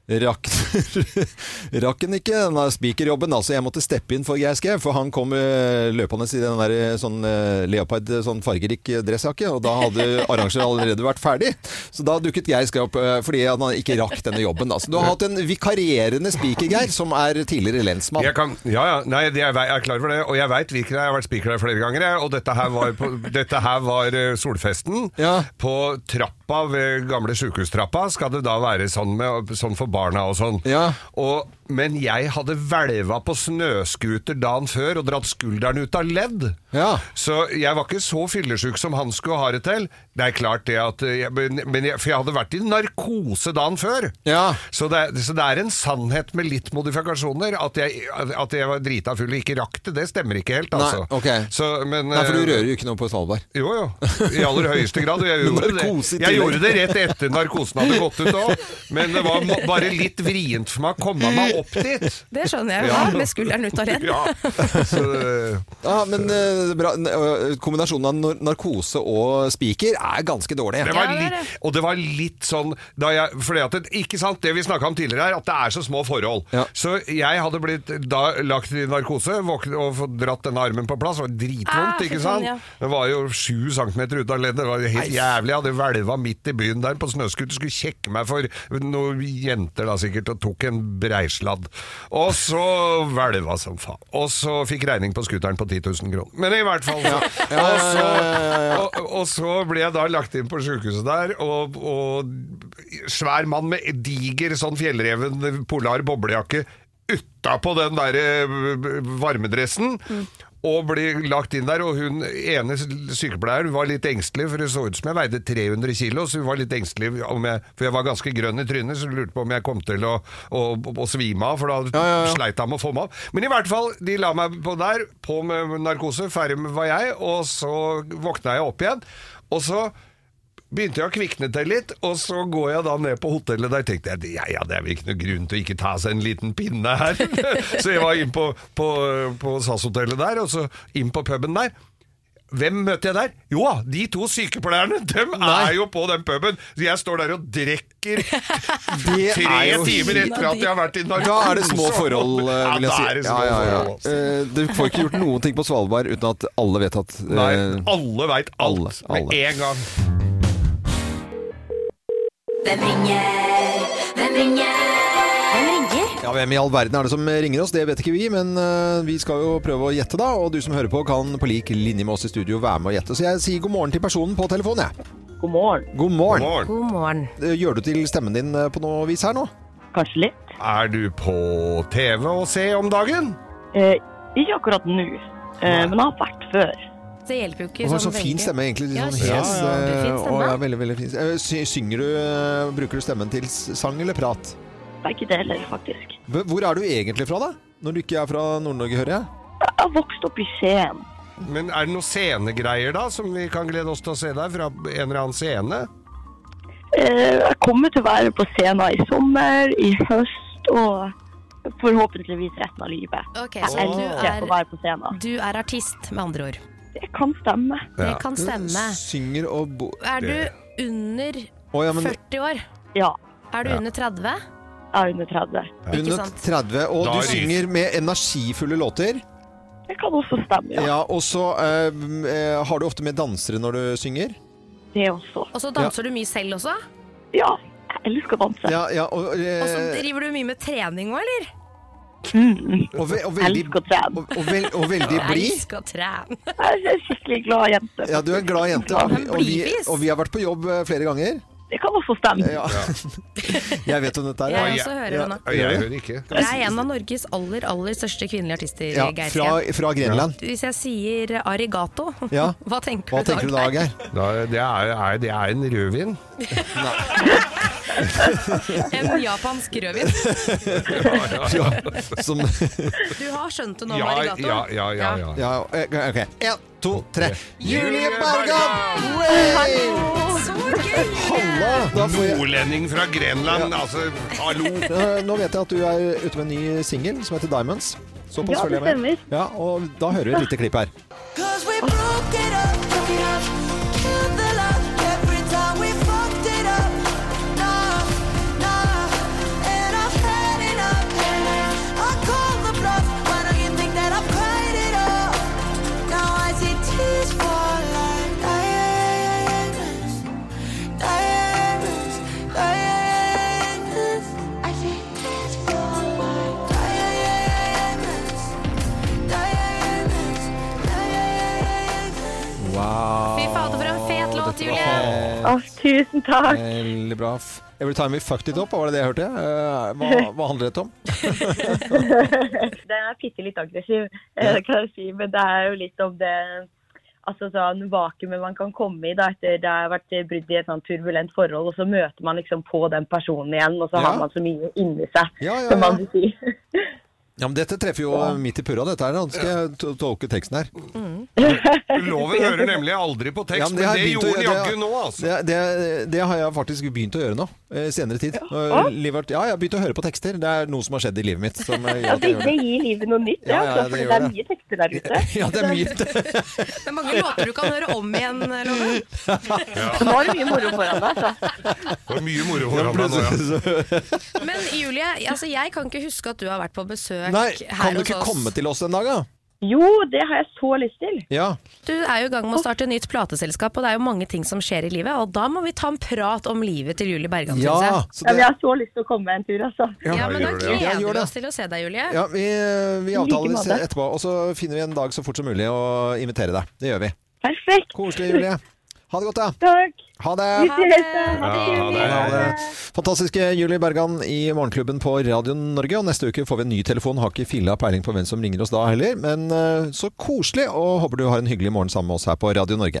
rakk, rakk han ikke den <laughs> der spikerjobben. Altså, jeg måtte steppe inn for Geir Skau, for han kom eh, løpende i den der eh, sånn eh, leopard, eh, sånn fargerik eh, dressjakke, og da
<laughs>
hadde arrangeren allerede vært ferdig. Så da dukket Geir Skau opp eh, fordi han ikke rakk denne jobben. Da. Så du har hatt en vikarierende spiker, Geir, som er tidligere lensmann.
Jeg kan, ja, ja, nei, det- jeg, vei- jeg er klar over det, og jeg veit hvilken jeg har vært spiker der flere ganger. Jeg, og dette her var, på, <laughs> dette her var eh, Solfesten.
Ja.
På trappa ved gamle sjukehustrappa skal det da være sånn, med, sånn for barna og sånn.
Ja.
Og, men jeg hadde hvelva på snøskuter dagen før og dratt skulderen ut av ledd.
Ja.
Så jeg var ikke så fyllesyk som han skulle ha det til. Det er klart det at eh, jeg, men men jeg, For jeg hadde vært i narkose dagen før.
Ja.
Så det, er- så det er en sannhet med litt modifikasjoner. At jeg, at jeg var drita full og ikke rakk det, det stemmer ikke helt, altså.
Nei, ok.
så, men,
Nei, for du
eh,
rører jo ikke noe på Svalbard. <laughs>
Jo, jo. I aller høyeste grad. Og jeg gjorde det.
narkose i
Jeg jeg gjorde det rett etter narkosen hadde gått ut òg, men det var mo- bare litt vrient for meg å komme meg opp dit.
Det skjønner jeg jo,
Ja.
da, med skulderen ut av ledd.
Ja.
Ja, men eh, bra. N- eh, Kombinasjonen av nar- narkose og spiker er ganske dårlig.
Det var litt, og det var litt sånn da jeg, fordi at det, Ikke sant, det vi snakka om tidligere her, at det er så små forhold. Så jeg hadde blitt da lagt i narkose våkn- og fått dratt denne armen på plass. Det var
Ah,
dritvondt,
for
ikke
faen,
sant?
ja.
Det var jo sju centimeter ut av leddet. Det var helt
Nei.
jævlig. Jeg hadde hvelva midt i byen der på snøskuter. Skulle kjekke meg for noen jenter da sikkert, og tok en breisladd. Og så hvelva som faen. Og så fikk regning på skuteren på 10 000 kroner. Men i hvert fall så,
Ja,
og, så,
ja,
og, og så ble jeg da lagt inn på sykehuset der, og, og svær mann med diger sånn fjellreven polar boblejakke utapå den der eh, varmedressen. Og ble lagt inn der, og hun ene sykepleieren var litt engstelig, for det så ut som jeg veide 300 kilo, så hun var litt engstelig, om jeg, for jeg var ganske grønn i trynet, så hun lurte på om jeg kom til å, å, å svime av, for da sleit jeg med å få meg av. Men i hvert fall, de la meg på der, på med narkose, ferdig med var jeg, og så våkna jeg opp igjen, og så begynte jeg å kvikne til litt, og så går jeg da ned på hotellet der, tenkte jeg, ja, ja, det er vel ikke noe grunn til å ikke ta seg en liten pinne her. <laughs> så jeg var inn på, på, på SAS-hotellet der, og så inn på puben der. Hvem møter jeg der? Jo, da, de to sykepleierne, dem er jo på den puben. Så jeg står der og drikker
<laughs> Det
tre
er jo-
timer etter at jeg har vært i narkose.
Da er det
<laughs>
små forhold, eh,
Ja,
vil jeg
da
si.
er det små
Ja, ja, ja.
forhold. altså.
Eh, Du får ikke gjort noen ting på Svalbard uten at alle vet at eh,
Nei, alle veit alt
alle.
med en gang.
Hvem ringer? Hvem ringer? Hvem ringer?
Ja, Hvem i all verden er det som ringer oss? Det vet ikke vi, men eh, vi skal jo prøve å gjette, da. Og du som hører på, kan på lik linje med oss i studio være med å gjette. Så jeg sier god morgen til personen på telefonen, jeg.
God morgen.
God morgen.
God morgen.
Eh, Gjør du til stemmen din eh, på noe vis her nå?
Kanskje litt.
Er du på TV og se om dagen?
Eh, ikke akkurat nå, eh, men jeg har vært før.
Det hjelper jo ikke.
Og så
sånn
fin
veldig.
stemme, egentlig. Litt
Ja,
sånn
kjempe-
hes. eh,
kjempefin
og
stemme.
ja, veldig, veldig fin. Eh, sy- Synger du eh, Bruker du stemmen til s- sang eller prat?
Begge deler, faktisk.
B- Hvor er du egentlig fra, da? Når du ikke er fra Nord-Norge, hører jeg.
Jeg har vokst opp i Skien.
Men er det noen scenegreier da, som vi kan glede oss til å se der fra en eller annen scene?
Eh, jeg kommer til å være på scenen i sommer, i høst og forhåpentligvis resten av livet.
Ok,
jeg
så du
elsker
er-
å være på scenen.
Du er artist, med andre ord.
Det kan stemme.
Det kan stemme.
Synger og bo...
Er du under
Å, ja, men-
40 år?
Ja.
Er du
Ja.
under 30?
Jeg er under 30.
Ikke
Under
sant?
30, og
Da
du
ryker-
synger med energifulle låter.
Det kan også stemme,
Ja, og så eh, m, eh, har du ofte med dansere når du synger.
Det også.
Og så danser du mye selv også?
Ja, jeg elsker å danse.
Ja, ja, og, eh,
Og så driver du mye med trening òg, eller?
og, ve og veldig,
elsker å trene.
og, og, vel, og veldig blid.
Jeg skal trene.
Jeg er en skikkelig glad jente.
Ja, du er en glad jente. Og vi, og, vi, og vi har vært på jobb eh, flere ganger.
Det kan også stemme.
Ja. <laughs> Jeg vet om dette er.
Jeg også hører det nå.
Ja, jeg hører ikke.
Du er en av Norges aller, aller største kvinnelige artister,
Ja,
Geir
fra,
Skien.
fra Grenland.
Hvis jeg sier arigato,
Ja.
<laughs> hva tenker
Hva
du da?
tenker du da, Geir?
Da, det, er, er, det er en rødvin.
En japansk rødvin.
Ja,
<laughs>
<laughs> som
Du har skjønt det nå,
Ja,
med arigato?
ja,
Ja, ja, ja.
Ja, eh, ok. En, to, tre. Julie
Bergan!
Så gøy!
Halla! Da får jeg
Nordlending fra Grenland, altså, hallo!
Eh, Nå vet jeg at du er ute med en ny singel som heter Diamonds. Såpass
Ja,
følger
det
jeg med. Ja, og da hører vi et lite klipp her.
Cause we broke it up, broke it up. Killed the love every time we fucked it up. Nah, nah. And I've had enough. I call the bluff. Why don't you think that I've cried it up? Now I see tears fall like diamonds. Diamonds, diamonds. I see tears fall like diamonds. Diamonds.
Wow.
Fy fader, for en fet låt, Julie!
Åh,
tusen takk.
Veldig bra. F- Every time we fucked it up, var det det jeg hørte? Eh, Hva, hva handler dette om?
den er bitte litt aggressiv, eh,
Ja.
kan jeg si. Men det er jo litt om det altså sånn vakuumet man kan komme i da, etter det har vært eh, brudd i et sånn turbulent forhold. Og så møter man liksom på den personen igjen, og så
Ja.
har man så mye inni seg,
ja,
som man vil si.
Ja, men Dette treffer jo midt i purra, dette her. da. Nå skal jeg to- tolke teksten her.
Loven hører nemlig aldri på tekst,
Ja,
men det,
har jeg begynt å
gjorde den
gjøre-
jaggu nå, altså.
Det, det, det har jeg faktisk begynt å gjøre nå, eh, senere tid.
Å?
Ja. Livert, ja, jeg har begynt å høre på tekster. Det er noe som har skjedd i livet mitt. Som gjør
Ja,
at
det,
jeg gjør
det
det.
gir livet noe nytt,
Ja,
ja,
ja,
altså,
det
for
gjør
det er
det.
mye tekster der ute.
<laughs> Ja, det er mye.
Det er mange låter du kan høre om igjen, Loven.
Så nå er det mye moro foran deg, altså.
Det var mye moro foran deg nå, ja.
Men Julie, altså, jeg kan ikke huske at du har vært på besøk
Nei,
her
kan du
hos
ikke
oss.
komme til oss en dag, da?
Jo, det har jeg så lyst til.
Ja.
Du er jo i gang med å starte nytt plateselskap, og det er jo mange ting som skjer i livet. Og da må vi ta en prat om livet til Julie Bergan,
Ja,
synes
så
jeg.
det- Ja, men
jeg har så lyst til å komme en tur, altså.
Ja, men da
gjør det, ja. Ja,
gleder
gjør
vi
det.
oss til å se deg, Julie.
Ja, vi,
I
vi
like
avtaler
måte.
etterpå, og så finner vi en dag så fort som mulig og inviterer deg. Det gjør vi.
Perfekt.
Koselig, Julie. Ha det godt, da.
Takk.
Ha det.
Vi ses, da. Ha det.
Ja,
Julie.
ha det. Fantastiske Julie Bergan i Morgenklubben på Radio Norge. Og neste uke får vi en ny telefon. Har ikke filla peiling på hvem som ringer oss da heller. Men eh, så koselig, og håper du har en hyggelig morgen sammen med oss her på Radio Norge.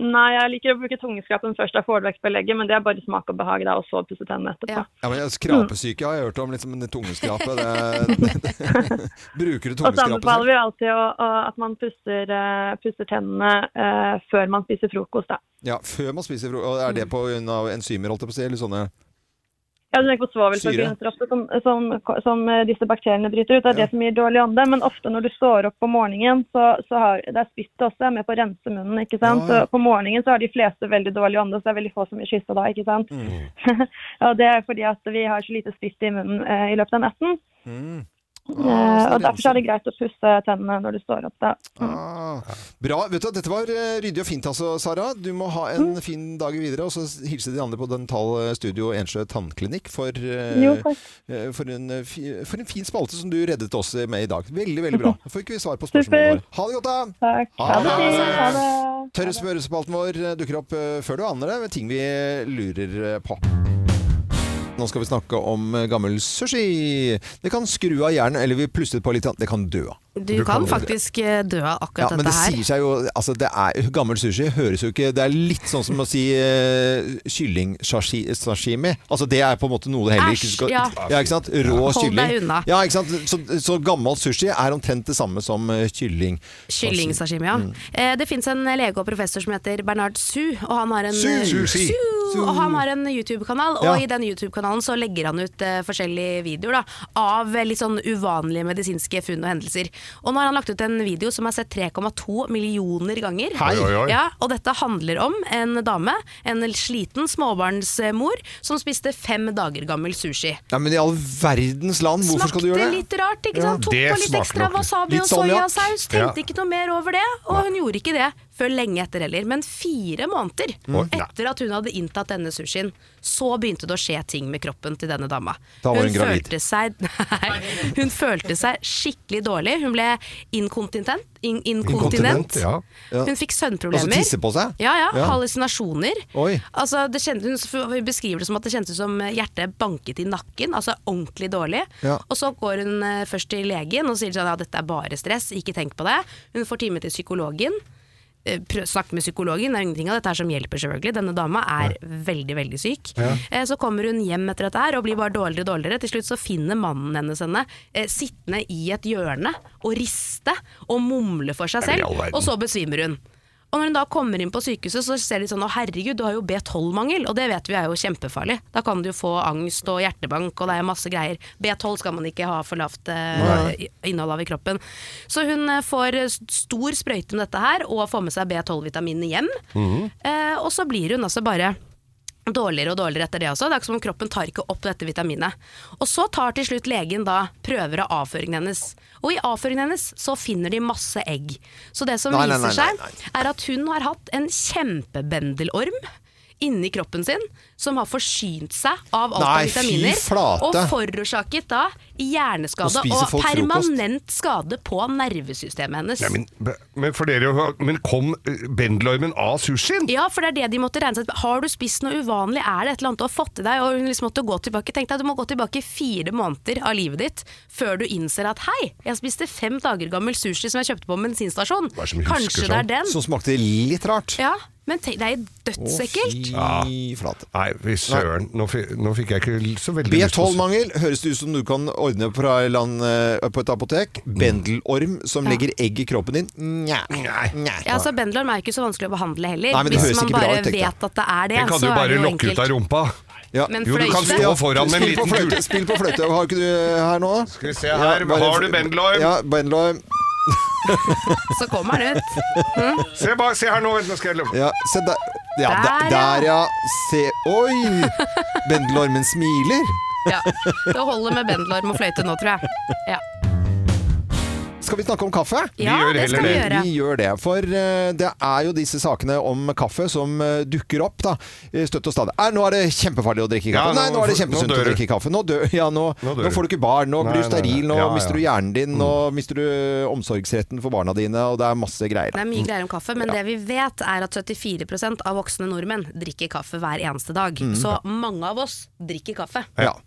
Nei, jeg liker å bruke tungeskrapen først. Da får du vekk belegget, men det er bare smak og behag, da, og så pusse tennene etterpå.
Ja, men Skrapesyke har jeg hørt om, liksom en tungeskrape. Det, <laughs> bruker du
Og så
tungeskrape
anbefaler vi alltid å, å, at man pusser, eh, pusser tennene eh, før man spiser frokost, da.
Ja, før man spiser frokost. Og Er det på grunn av enzymer, holdt jeg på å si? Eller sånne
Ja, du tenker på svovelforbindelser som, som, som eh, disse bakteriene bryter ut. Det er det som gir dårlig ånde. Men ofte når du står opp om morgenen, så, så har det er spyttet også er med på å rense munnen. ikke sant?
Ja, ja.
Så på morgenen så har de fleste veldig dårlig ånde, så det er veldig få som blir kyssa da. ikke sant? <laughs>
Mm.
og det er fordi at vi har så lite spytt i munnen eh, i løpet av natten.
Mm. Ah,
Eh, og derfor så er det greit å pusse tennene når du står opp. da. Mm.
Ah. Bra. vet du, hva, Dette var eh, ryddig og fint, altså, Sara. Du må ha en
Mm.
fin dag videre. Og så hilse de andre på Dental eh, Studio Ensjø tannklinikk for, eh,
Jo, takk.
eh, for, en, eh, fi, for en fin spalte som du reddet oss eh, med i dag. Veldig, veldig
<laughs>
bra. Da får ikke vi svar på spørsmålene våre. Ha det godt, da!
Takk. Ha det fint. Ha det.
Tørre spørrespalten vår dukker opp eh, før du aner det, med ting vi lurer eh, på. Nå skal vi snakke om eh, gammel sushi. Det kan skru av hjernen, eller vi plusset på litt, det kan dø av.
Du, kan faktisk eh, dø av
Ja,
akkurat
men det
dette her.
sier seg jo altså det er, Gammel sushi høres jo ikke Det er litt sånn som å si uh, kylling-sashimi. Altså det er på en måte noe det heller ikke
Æsj,
skal
ja.
ikke sant? Rå
Hold deg
kylling.
unna.
Ja, ikke sant? Så, så gammel sushi er omtrent det samme som eh, kylling.
Kyllingsashimi, ja.
Mm.
Eh, Det fins en lege og professor som heter Bernard Su, og han har en
Su, Su, Su.
Su, Og han har en YouTube-kanal, og
Ja.
i den YouTube-kanalen så legger han ut eh, forskjellige videoer da, av eh, litt sånn uvanlige medisinske funn og hendelser. Og nå har han lagt ut en video som er sett 3,2 millioner ganger.
Hei. Oi, oi, oi.
Ja, og dette handler om en dame, en sliten småbarnsmor, som spiste fem dager gammel sushi.
Nei, men i all verdens land, hvorfor skal du gjøre det?
Litt rart, ikke
Ja.
sant? Tok
Det
på litt
smaker nok
ekstra
litt.
wasabi
Litt
og
salmiakk.
soyasaus.
Ja.
Tenkte ikke noe mer over det, og hun gjorde ikke det før lenge etter heller. Men fire måneder
Oi.
etter at hun hadde inntatt denne sushien, så begynte det å skje ting med kroppen til denne dama.
Da var hun gravid.
Følte seg, <laughs> nei, hun følte seg skikkelig dårlig. Hun ble inkontinent. In, inkontinent.
ja. Ja.
Hun fikk søvnproblemer.
Altså tisse på seg?
Ja, ja.
Ja.
Hallusinasjoner.
Oi.
Altså, det kjente, hun beskriver det som at det kjentes som hjertet banket i nakken, altså ordentlig dårlig.
Ja.
Og så går hun eh, først til legen og sier sånn, ja, dette er bare stress, ikke tenk på det. Hun får time til psykologen. Eh, Prøv, snakk med psykologen, det er ingenting av dette her som hjelper selvfølgelig. Denne dama er veldig, veldig syk.
Ja.
Eh, Så kommer hun hjem etter dette her og blir bare dårligere og dårligere. Til slutt så finner mannen hennes henne eh, sittende i et hjørne og riste og mumle for seg
Er det i all
selv,
verden?
og så besvimer hun. Og når hun da kommer inn på sykehuset, så ser de sånn å herregud, du har jo B12-mangel, og det vet vi er jo kjempefarlig. Da kan du jo få angst og hjertebank, og det er masse greier. B12 skal man ikke ha for lavt eh, i- innhold av i kroppen. Så hun eh, får eh, stor sprøyte med dette her, og får med seg B12-vitaminene hjem. Eh, og så blir hun altså bare dårligere og dårligere etter det også. Det er ikke som om kroppen tar ikke opp dette vitaminet. Og så tar til slutt legen da prøver av avføringen hennes. Og i avføringen hennes så finner de masse egg. Så det som
Nei, nei,
viser
nei,
seg,
nei,
er at hun har hatt en kjempebendelorm inni kroppen sin, som har forsynt seg av alt
Nei,
av vitaminer.
fy flate.
Og forårsaket da hjerneskade
Og spiser
og
folk frokost.
permanent skade på nervesystemet hennes.
Nei, men, men, for dere, men kom bendelormen av sushien?
Ja, for det er det de måtte regne seg ut. Har du spist noe uvanlig, er det et eller annet du har fått i deg? Og hun liksom måtte gå tilbake. Tenk deg, du må gå tilbake fire måneder av livet ditt før du innser at hei, jeg spiste fem dager gammel sushi som jeg kjøpte på en bensinstasjon.
Hva er det som husker
Kanskje det
sånn?
er den?
Som smakte litt rart.
Ja, men tenk, det er jo dødsekkelt.
Ja. Nei, fy søren. Nå, fi- nå fikk jeg ikke så veldig lyst til å-
B12-mangel høres det ut som du kan ordne fra en eller annen, eh, på et apotek. Bendelorm som
Ja.
legger egg i kroppen din. Nja. Nja.
Ja, altså Bendelorm er jo ikke så vanskelig å behandle heller.
Nei, men det høres
Hvis man
ikke bra
bare
ut, tenk deg.
vet at det er det,
Den kan du
så er
bare
det jo
lokke ut av
enkelt.
rumpa.
Ja.
Men
Jo, du kan
fløyte?
stå foran med en
Spill på
liten
fløyte,
kule.
Spill på fløyte. Har ikke du eh, her nå?
Skal vi se her. Har du bendelorm?
Ja, bendelorm.
Så kommer den ut. Mm.
Se, ba, se her nå, vent, nå skal jeg løpe.
Ja, se der. Ja, der,
Der, ja.
der, ja. Se. Oi! Bendelormen smiler.
Ja, Det holder med bendelorm og fløyte nå, tror jeg. Ja.
Skal vi snakke om kaffe?
Vi Ja, gjør det skal heller vi det. gjøre.
Vi gjør det. For eh, det er jo disse sakene om kaffe som eh, dukker opp da, i støtt og stadig. Eh, nå er det kjempefarlig å drikke kaffe.
Ja, nå-
Nei, nå er det
nå
kjempesunt
dør
å
du.
drikke kaffe. Nå, dør, ja, nå, nå,
dør du.
får du ikke barn, nå
Nei,
blir du
nei, nei.
steril, nå
Ja, ja.
mister du hjernen din, nå mister du omsorgsretten for barna dine, og det er masse greier.
Det er mye greier om kaffe, men det vi vet er at 74 av voksne nordmenn drikker kaffe hver eneste dag.
Mm.
Så mange av oss drikker kaffe.
Ja.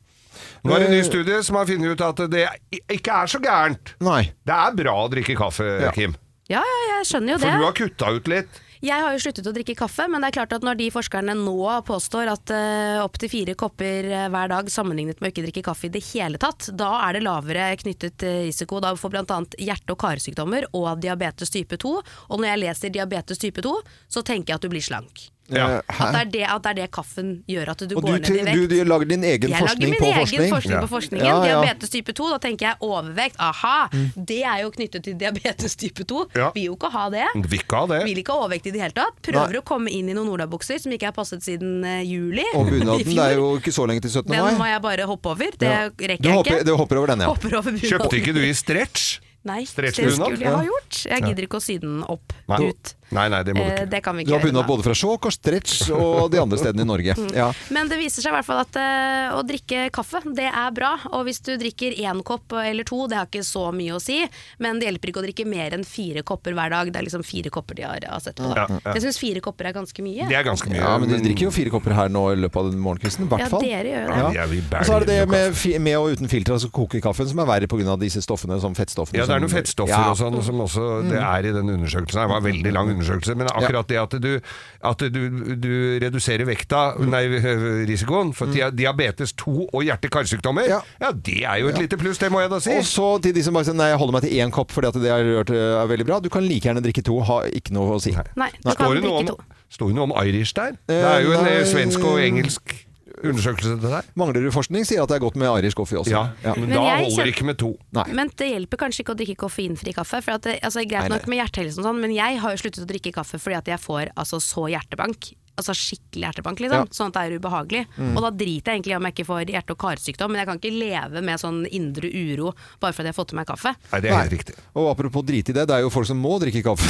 Nå er det en ny
Eh.
studie som har funnet ut at det ikke er så gærent.
Nei.
Det er bra å drikke kaffe, Kim.
Ja, ja, jeg skjønner jo
For
det.
du har kutta ut litt.
Jeg har jo sluttet å drikke kaffe, men det er klart at når de forskerne nå påstår at uh, opptil fire kopper eh, hver dag sammenlignet med å ikke drikke kaffe i det hele tatt, da er det lavere knyttet eh, risiko da for bl.a. hjerte- og karsykdommer og diabetes type 2. Og når jeg leser diabetes type 2, så tenker jeg at du blir slank.
Ja.
At det, er det, at det er det kaffen gjør at du
Og du,
går ned i
til-
vekt.
du, du lager din egen
jeg
forskning på
lager min egen
forskning?
forskning, på forskningen.
Ja, ja.
Diabetes type 2, da tenker jeg overvekt. Aha,
Mm.
det er jo knyttet til diabetes type 2.
Ja.
Vil jo ikke ha det.
Vil ikke ha det.
Vil ikke ha overvekt i det hele tatt.
Mm.
Prøver
Nei.
å komme inn i noen olabukser som ikke er passet siden eh, juli.
Og
<laughs> i
bunaden,
fjor.
det er jo ikke så lenge til 17.
Den må
mai.
jeg bare hoppe over. Det
Ja.
rekker jeg
Du hopper-
ikke.
du hopper over den, ja.
Hopper over bunaden.
Kjøpte ikke du i stretch?
Nei, det
Stretchbunad?
skulle jeg ha
Ja.
gjort. Jeg
Ja.
gidder ikke å sy den opp.
Nei. nei, nei, det må du
Eh,
ikke.
det kan vi ikke
Du har
gjøre
bunad
nå.
både fra Skjåk og Stretch og de andre stedene i Norge.
Mm.
Ja.
Men det viser seg i hvert fall at eh, å drikke kaffe, det er bra. Og hvis du drikker én kopp eller to, det har ikke så mye å si. Men det hjelper ikke å drikke mer enn fire kopper hver dag. Det er liksom fire kopper de har har sett på. da.
Ja, ja.
Jeg syns fire kopper er ganske mye.
Ja,
Um,
men dere drikker jo fire kopper her nå i løpet av den morgenkvisten. i hvert
Ja,
fall.
dere gjør det.
Ja, vi bærer
Og så er det
i
det
oss
med, fi- med og uten filter, altså kokekaffen, som er verre pga. disse stoffene, som fettstoffene. som-
Ja, det er noen fettstoffer
Ja. Mm.
og sånn som også det er i den undersøkelsen. her. Det var en veldig lang undersøkelse, men akkurat det at du, at du, du reduserer vekta, nei, risikoen
Mm.
for dia- diabetes 2 og hjerte-karsykdommer, ja. det er jo et
Ja.
lite pluss, det må jeg da si.
Og så til de som bare sier nei, jeg holder meg til én kopp fordi at det jeg har gjort eh, er veldig bra. Du kan like gjerne drikke to, har ikke noe å si.
Nei, du kan
Står det noe
drikke
om,
to.
står det noe om Irish der?
Eh,
Det er jo en eh,
nei.
svensk og engelsk undersøkelse til deg.
Mangler du forskning, sier at det er godt med arisk kaffe også.
Ja, men
Men
da
jeg
holder
kjen-
det ikke med to.
Men det hjelper kanskje ikke å drikke koffeinfri kaffe. For at det, altså,
Nei,
greit
nei.
nok med hjertehelsen og sånn, men jeg har jo sluttet å drikke kaffe fordi at jeg får altså, så hjertebank. Altså skikkelig hjertebank,
Ja.
liksom. Sånn at det er ubehagelig.
Mm.
Og da driter jeg egentlig i om jeg ikke får hjerte- og karsykdom, men jeg kan ikke leve med sånn indre uro bare fordi jeg har fått i meg kaffe.
Nei, det er helt riktig. <laughs>
Og apropos drite i det, det er jo folk som må drikke kaffe.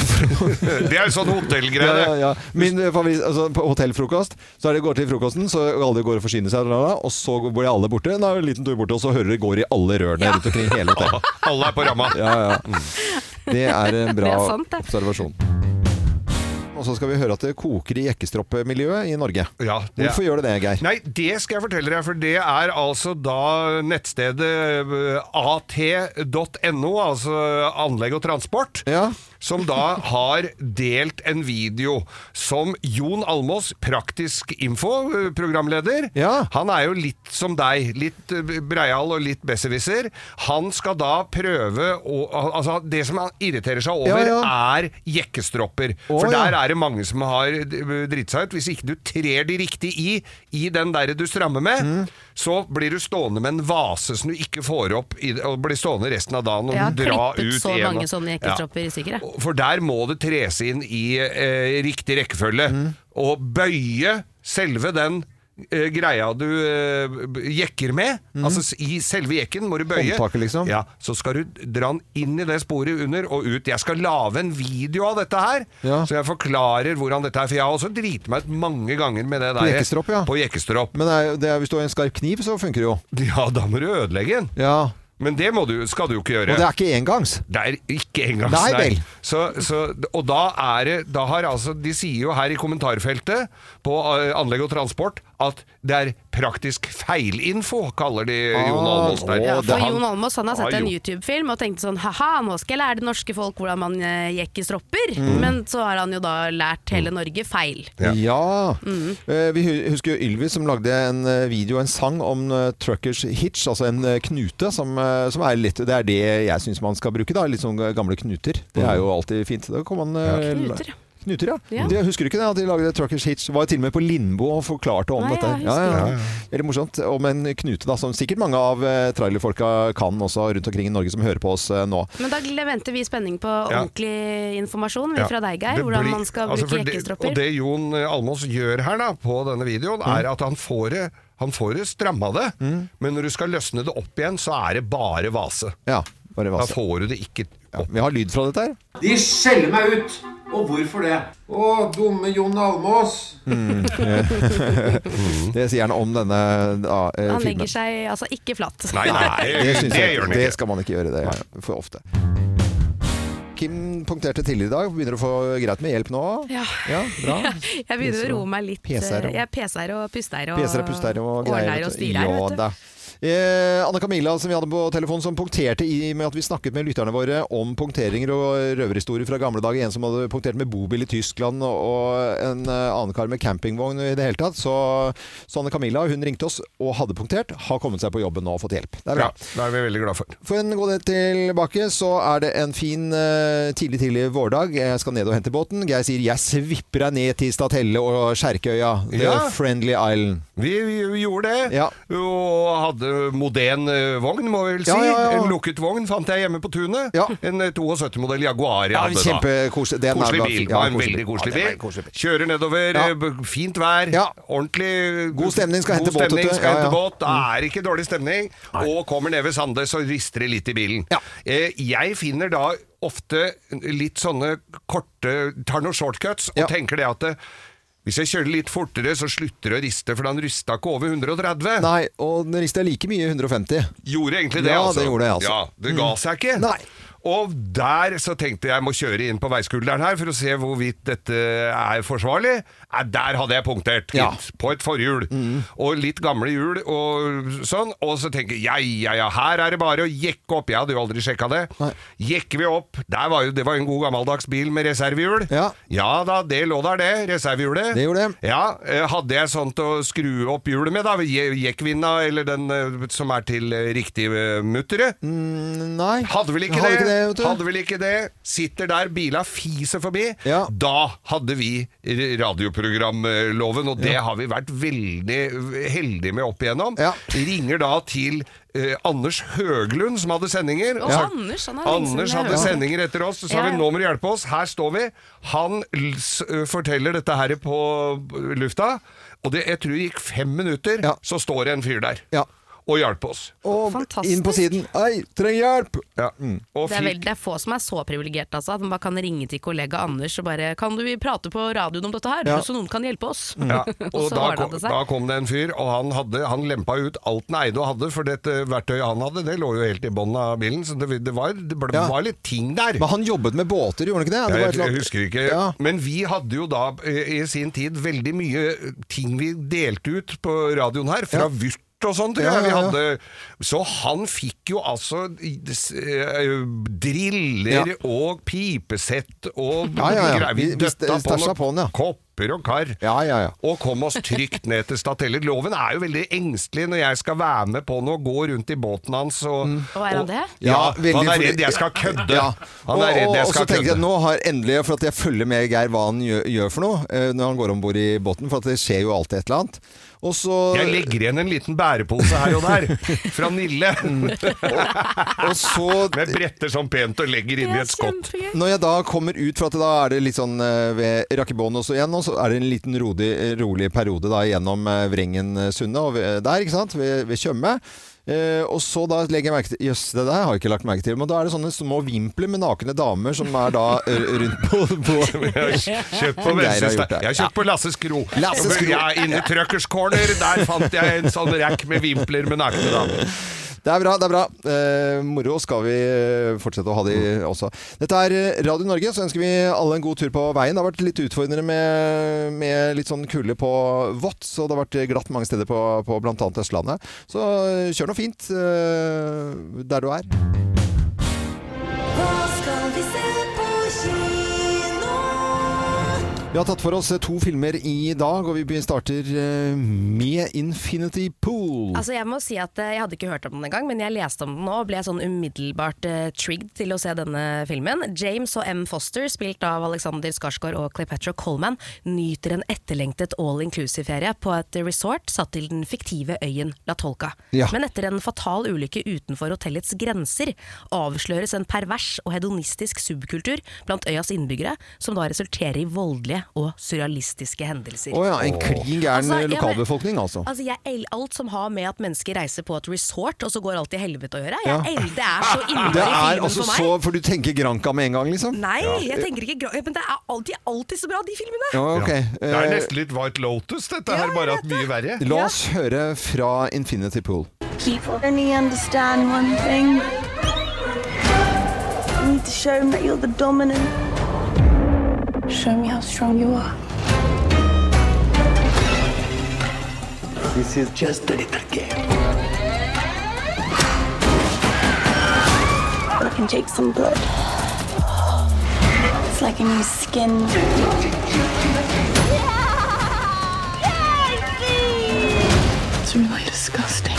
det
er jo sånn hotellgreie.
Ja, ja, ja. Min eh, favoritt, altså på hotellfrokost, så er det går til frokosten, så alle går og forsyner seg, bla, bla, og så blir alle borte. Da er det en liten tur borte, og så hører det går i alle rørene rundt omkring hele
<laughs>
hotellet.
Alle er på ramma.
Ja, ja. Det er en bra
Det er sant, det.
observasjon. Og så skal vi høre at det koker i jekkestroppmiljøet i Norge.
det er-
Hvorfor gjør det det, Geir?
Nei, det skal jeg fortelle deg, for det er altså da nettstedet eh, at.no, altså anlegg og transport, som da har delt en video som Jon Almås, praktisk info, eh, programleder, han er jo litt som deg, litt eh, breial og litt besserwisser. Han skal da prøve å Altså, det som han irriterer seg over,
Ja,
er jekkestropper.
Å,
for der
ja.
er det mange som har eh, dritt seg ut. Hvis ikke du trer de riktig i, i den der du strammer med,
Mm.
så blir du stående med en vase som du ikke får opp, i, og blir stående resten av dagen og
Jeg har
dra ut
klippet så
en og-
mange sånne
Ja.
jekkestropper i sikkert.
For der må det tres inn i eh, riktig rekkefølge. Og bøye selve den eh, greia du eh, b- jekker med. Altså s- i selve jekken må du bøye.
Håndtaket, liksom.
Ja, så skal du dra den inn i det sporet under og ut. Jeg skal lage en video av dette her, så jeg forklarer hvordan dette er. For jeg har også driti meg ut mange ganger med det
På
der.
jekkestropp, ja.
På jekkestropp.
Men det er, det er, hvis du har en skarp kniv, så funker det jo.
Ja, da må du ødelegge den.
Ja.
Men det må du, skal du jo ikke gjøre.
Og det er ikke engangs.
Det er ikke engangs,
Nei vel.
Så, så, og da er det da har altså, De sier jo her i kommentarfeltet på eh, Anlegg og Transport at det er praktisk feilinfo, kaller de
Ah,
Jon Almaas der.
Ja, for Jon Almaas han har sett
Ah,
en
jo.
YouTube-film og tenkte sånn Haha, nå skal jeg lære det norske folk hvordan man eh, jekkestropper.
Mm.
Men så har han jo da lært
Mm.
hele Norge feil.
Ja. Eh, Vi hu- husker jo Ylvis som lagde en eh, video, en sang om eh, truckers hitch, altså en eh, knute, som, eh, som er litt Det er det jeg syns man skal bruke, da. Litt sånn gamle knuter. Det er jo alltid fint. Da kan man eh,
Knuter,
la- Knuter, ja.
Ja.
De, husker du ikke det, at de lagde Truckers Hitch? Var jo til og med på Lindbo og forklarte om
Nei,
dette.
jeg
Ja,
husker
ja,
det.
ja. Veldig morsomt. Om en knute, da, som sikkert mange av eh, trailerfolka kan også rundt omkring i Norge som hører på oss eh, nå.
Men da venter vi i spenning på
Ja.
ordentlig informasjon vi,
Ja.
fra deg, Geir.
Det
Hvordan
blir-
man skal
altså,
bruke
for det-
jekkestropper.
Og det Jon Almås gjør her da, på denne videoen,
Mm.
er at han får det, han får det stramma det, men når du skal løsne det opp igjen, så er det bare vase.
Ja, bare vase.
Da får du det ikke opp.
vi har lyd fra dette her.
De skjeller meg ut! Og hvorfor det? Å, dumme Jon Almås.
Mm. det sier han om denne da, eh,
Han
filmen.
legger seg altså ikke flatt. <laughs>
<laughs> det, syns jeg,
gjør han
ikke. det skal man ikke gjøre. Det er for ofte. Kim punkterte tidligere i dag. Begynner å få greit med hjelp nå?
Ja.
bra.
Jeg begynner å roe meg litt.
Peser og-
Jeg peser og puster og
Peser og puster og greier.
ordner og styrer.
Ja
vet du.
da. Eh, Anne Camilla som vi hadde på telefon som punkterte i med at vi snakket med lytterne våre om punkteringer og røverhistorier fra gamle dager. En som hadde punktert med bobil i Tyskland og en eh, annen kar med campingvogn i det hele tatt. Så, så Anne Camilla hun ringte oss og hadde punktert. Har kommet seg på jobben nå og fått hjelp. Det er bra.
Ja, det er vi veldig glad for.
For en god del tilbake så er det en fin eh, tidlig, tidlig vårdag. Jeg skal ned og hente båten. Geir sier 'jeg svipper deg ned til Statelle og Skjerkøya'. The
Ja.
Friendly Island.
Vi, gjorde det. Og hadde modern eh, vogn, må vi vel si.
Ja, ja, ja.
En lukket vogn fant jeg hjemme på tunet. En eh, 72-modell Jaguar jeg
Ja,
hadde da.
kjempekoselig. Den er
Koselig
bra.
bil.
Ja,
var en
koselig
veldig
bil. Ja,
koselig
det
bil.
var en koselig bil.
Kjører nedover,
Ja.
eh, b- fint vær. Ordentlig eh,
God stemning, skal hente
god
båt, vet
stemning,
du.
Skal
Ja, Mm.
hente
ja.
båt. Det er ikke dårlig stemning. Og kommer ned ved Sandnes og rister det litt i bilen. Eh, Jeg finner da ofte litt sånne korte Tar noen shortcuts og tenker det at det, hvis jeg kjører litt fortere, så slutter det å riste, for den rysta ikke over 130.
Nei, og den rister like mye 150.
Gjorde egentlig det,
Ja,
altså.
det gjorde jeg, altså.
Ja, det ga seg ikke. Og der så tenkte jeg jeg må kjøre inn på veiskulderen her for å se hvorvidt dette er forsvarlig. Nei, der hadde jeg punktert, gitt. På et forhjul.
Mm.
Og litt gamle hjul og sånn. Og så tenker jeg ja, ja, ja, her er det bare å jekke opp. Jeg hadde jo aldri sjekka det. Jekker vi opp. Der var jo, det var jo en god gammeldags bil med reservehjul. Ja. da, det lå der, det. Reservehjulet.
Det gjorde det.
Ja, eh, hadde jeg sånt å skru opp hjulet med da, je- jekkvinna eller den eh, som er til eh, riktig eh, muttere?
Nei.
Hadde vel ikke
Mm. Hadde ikke
det?
det, vet du.
hadde vel ikke det? Sitter der, bila fiser forbi.
Ja.
Da hadde vi r- radioprogramloven, og det har vi vært veldig heldige med opp igjennom. Ringer da til eh, Anders Høglund, som hadde sendinger.
Å,
og sa-
Anders, han Sånn er lenge siden
Anders
jeg
hadde
hørte.
sendinger etter oss, så sa
Ja,
vi
ja.
nå må du hjelpe oss, her står vi. Han l- s- forteller dette her på lufta, og det, jeg tror det gikk fem minutter, så står det en fyr der og hjalp oss.
Og inn på siden. Ei, trenger hjelp!
Ja. Mm. Og
Det er, vel,
fikk
det er få som er så privilegerte, altså, at man bare kan ringe til kollega Anders og bare 'Kan du prate på radioen om dette her,
Ja.
så noen kan hjelpe oss?' <laughs>
ja,
og,
og
så
da
ordna
kom,
det seg.
da kom det en fyr, og han, hadde, han lempa ut alt han eide og hadde, for dette verktøyet han hadde, det lå jo helt i bånn av bilen, så det, det, var, det, ble,
Ja.
var litt ting der.
Men han jobbet med båter, gjorde han ikke det? det var
Jeg,
et eller
jeg
annet-
husker ikke. Men vi hadde jo da eh, i sin tid veldig mye ting vi delte ut på radioen her, fra Vyrt og sånn, tror
Ja,
jeg. Vi
ja, ja.
hadde, så han fikk jo altså i- s- eh, driller og pipesett og
<laughs> Ja, ja, ja.
greier. Vi
Vi- vi
døtta på
stasja
noen kopper og kar. Og kom oss trygt ned til Stateller. Loven er jo veldig engstelig når jeg skal være med på noe, gå rundt i båten hans og
Mm. Og er han det?
Ja,
veldig
han er
fordi-
redd jeg skal kødde.
Ja.
Han
og,
er redd jeg
og, og så
skal
tenker jeg
kødde.
nå har endelig For at jeg følger med Geir hva han gjør, gjør for noe eh, når han går om bord i båten, for at det skjer jo alltid et eller annet. Og så
Jeg legger igjen en liten bærepose her og der, fra Nille.
Mm.
<laughs> Med bretter som pent og legger inni et skott.
Når jeg da kommer ut, for at da er det litt sånn eh, ved Rakkebånd også igjen, og så er det en liten rodig, rolig periode da gjennom eh, Vrengensundet og ved- der, ikke sant, ved, ved Tjøme. Eh, og så da legger jeg merke til Jøss, det der har jeg ikke lagt merke til. Men da er det sånne små vimpler med nakne damer som er da eh, rundt på, på
Jeg har kjøpt på
Som Geir har
Venstre
gjort
Stein.
der.
Jeg har kjøpt på Lasses Kro.
Lasses Kro.
Jeg er inne i Truckers Corner. Der fant jeg en sånn rekk med vimpler med nakne damer.
Det er bra, det er bra. Eh, moro skal vi eh, fortsette å ha de også. Dette er eh, Radio Norge, så ønsker vi alle en god tur på veien. Det har vært litt utfordrende med, med litt sånn kulde på vått, så det har vært glatt mange steder på, på bl.a. Østlandet. Så eh, kjør nå fint eh, der du er.
Hva skal vi se på kino?
Vi har tatt for oss eh, to filmer i dag, og vi starter eh, med Infinity Pool.
Altså Jeg må si at eh, jeg hadde ikke hørt om den engang, men jeg leste om den nå og ble sånn umiddelbart uh, trigged til å se denne filmen. James og M. Foster, spilt av Alexander Skarsgård og Cleopatra Coleman, nyter en etterlengtet all inclusive-ferie på et resort satt til den fiktive øyen La Tolca.
Ja.
Men etter en fatal ulykke utenfor hotellets grenser avsløres en pervers og hedonistisk subkultur blant øyas innbyggere, som da resulterer i voldelige og surrealistiske hendelser.
Å ja, en klin gæren eh,
Altså, jeg men-
lokalbefolkning, altså.
Altså, jeg, el- alt som har med at mennesker reiser på et resort, og så går alt til helvete å gjøre. Jeg,
Ja.
el- Det er så
<laughs>
innmari
Det er
filmen
altså
for meg.
så For du tenker Granka med en gang, liksom?
Nei,
Ja.
jeg tenker ikke gra- Men det er alltid, de er alltid så bra, de filmene!
Ja, ok. Eh,
Det er nesten litt White Lotus, dette her, bare at mye verre.
La oss høre fra Infinity Pool.
People only understand one thing. You need to show them that you're the dominant. Show me how strong you are.
This is just a little game.
can take some blood. It's like a new skin. It's really disgusting.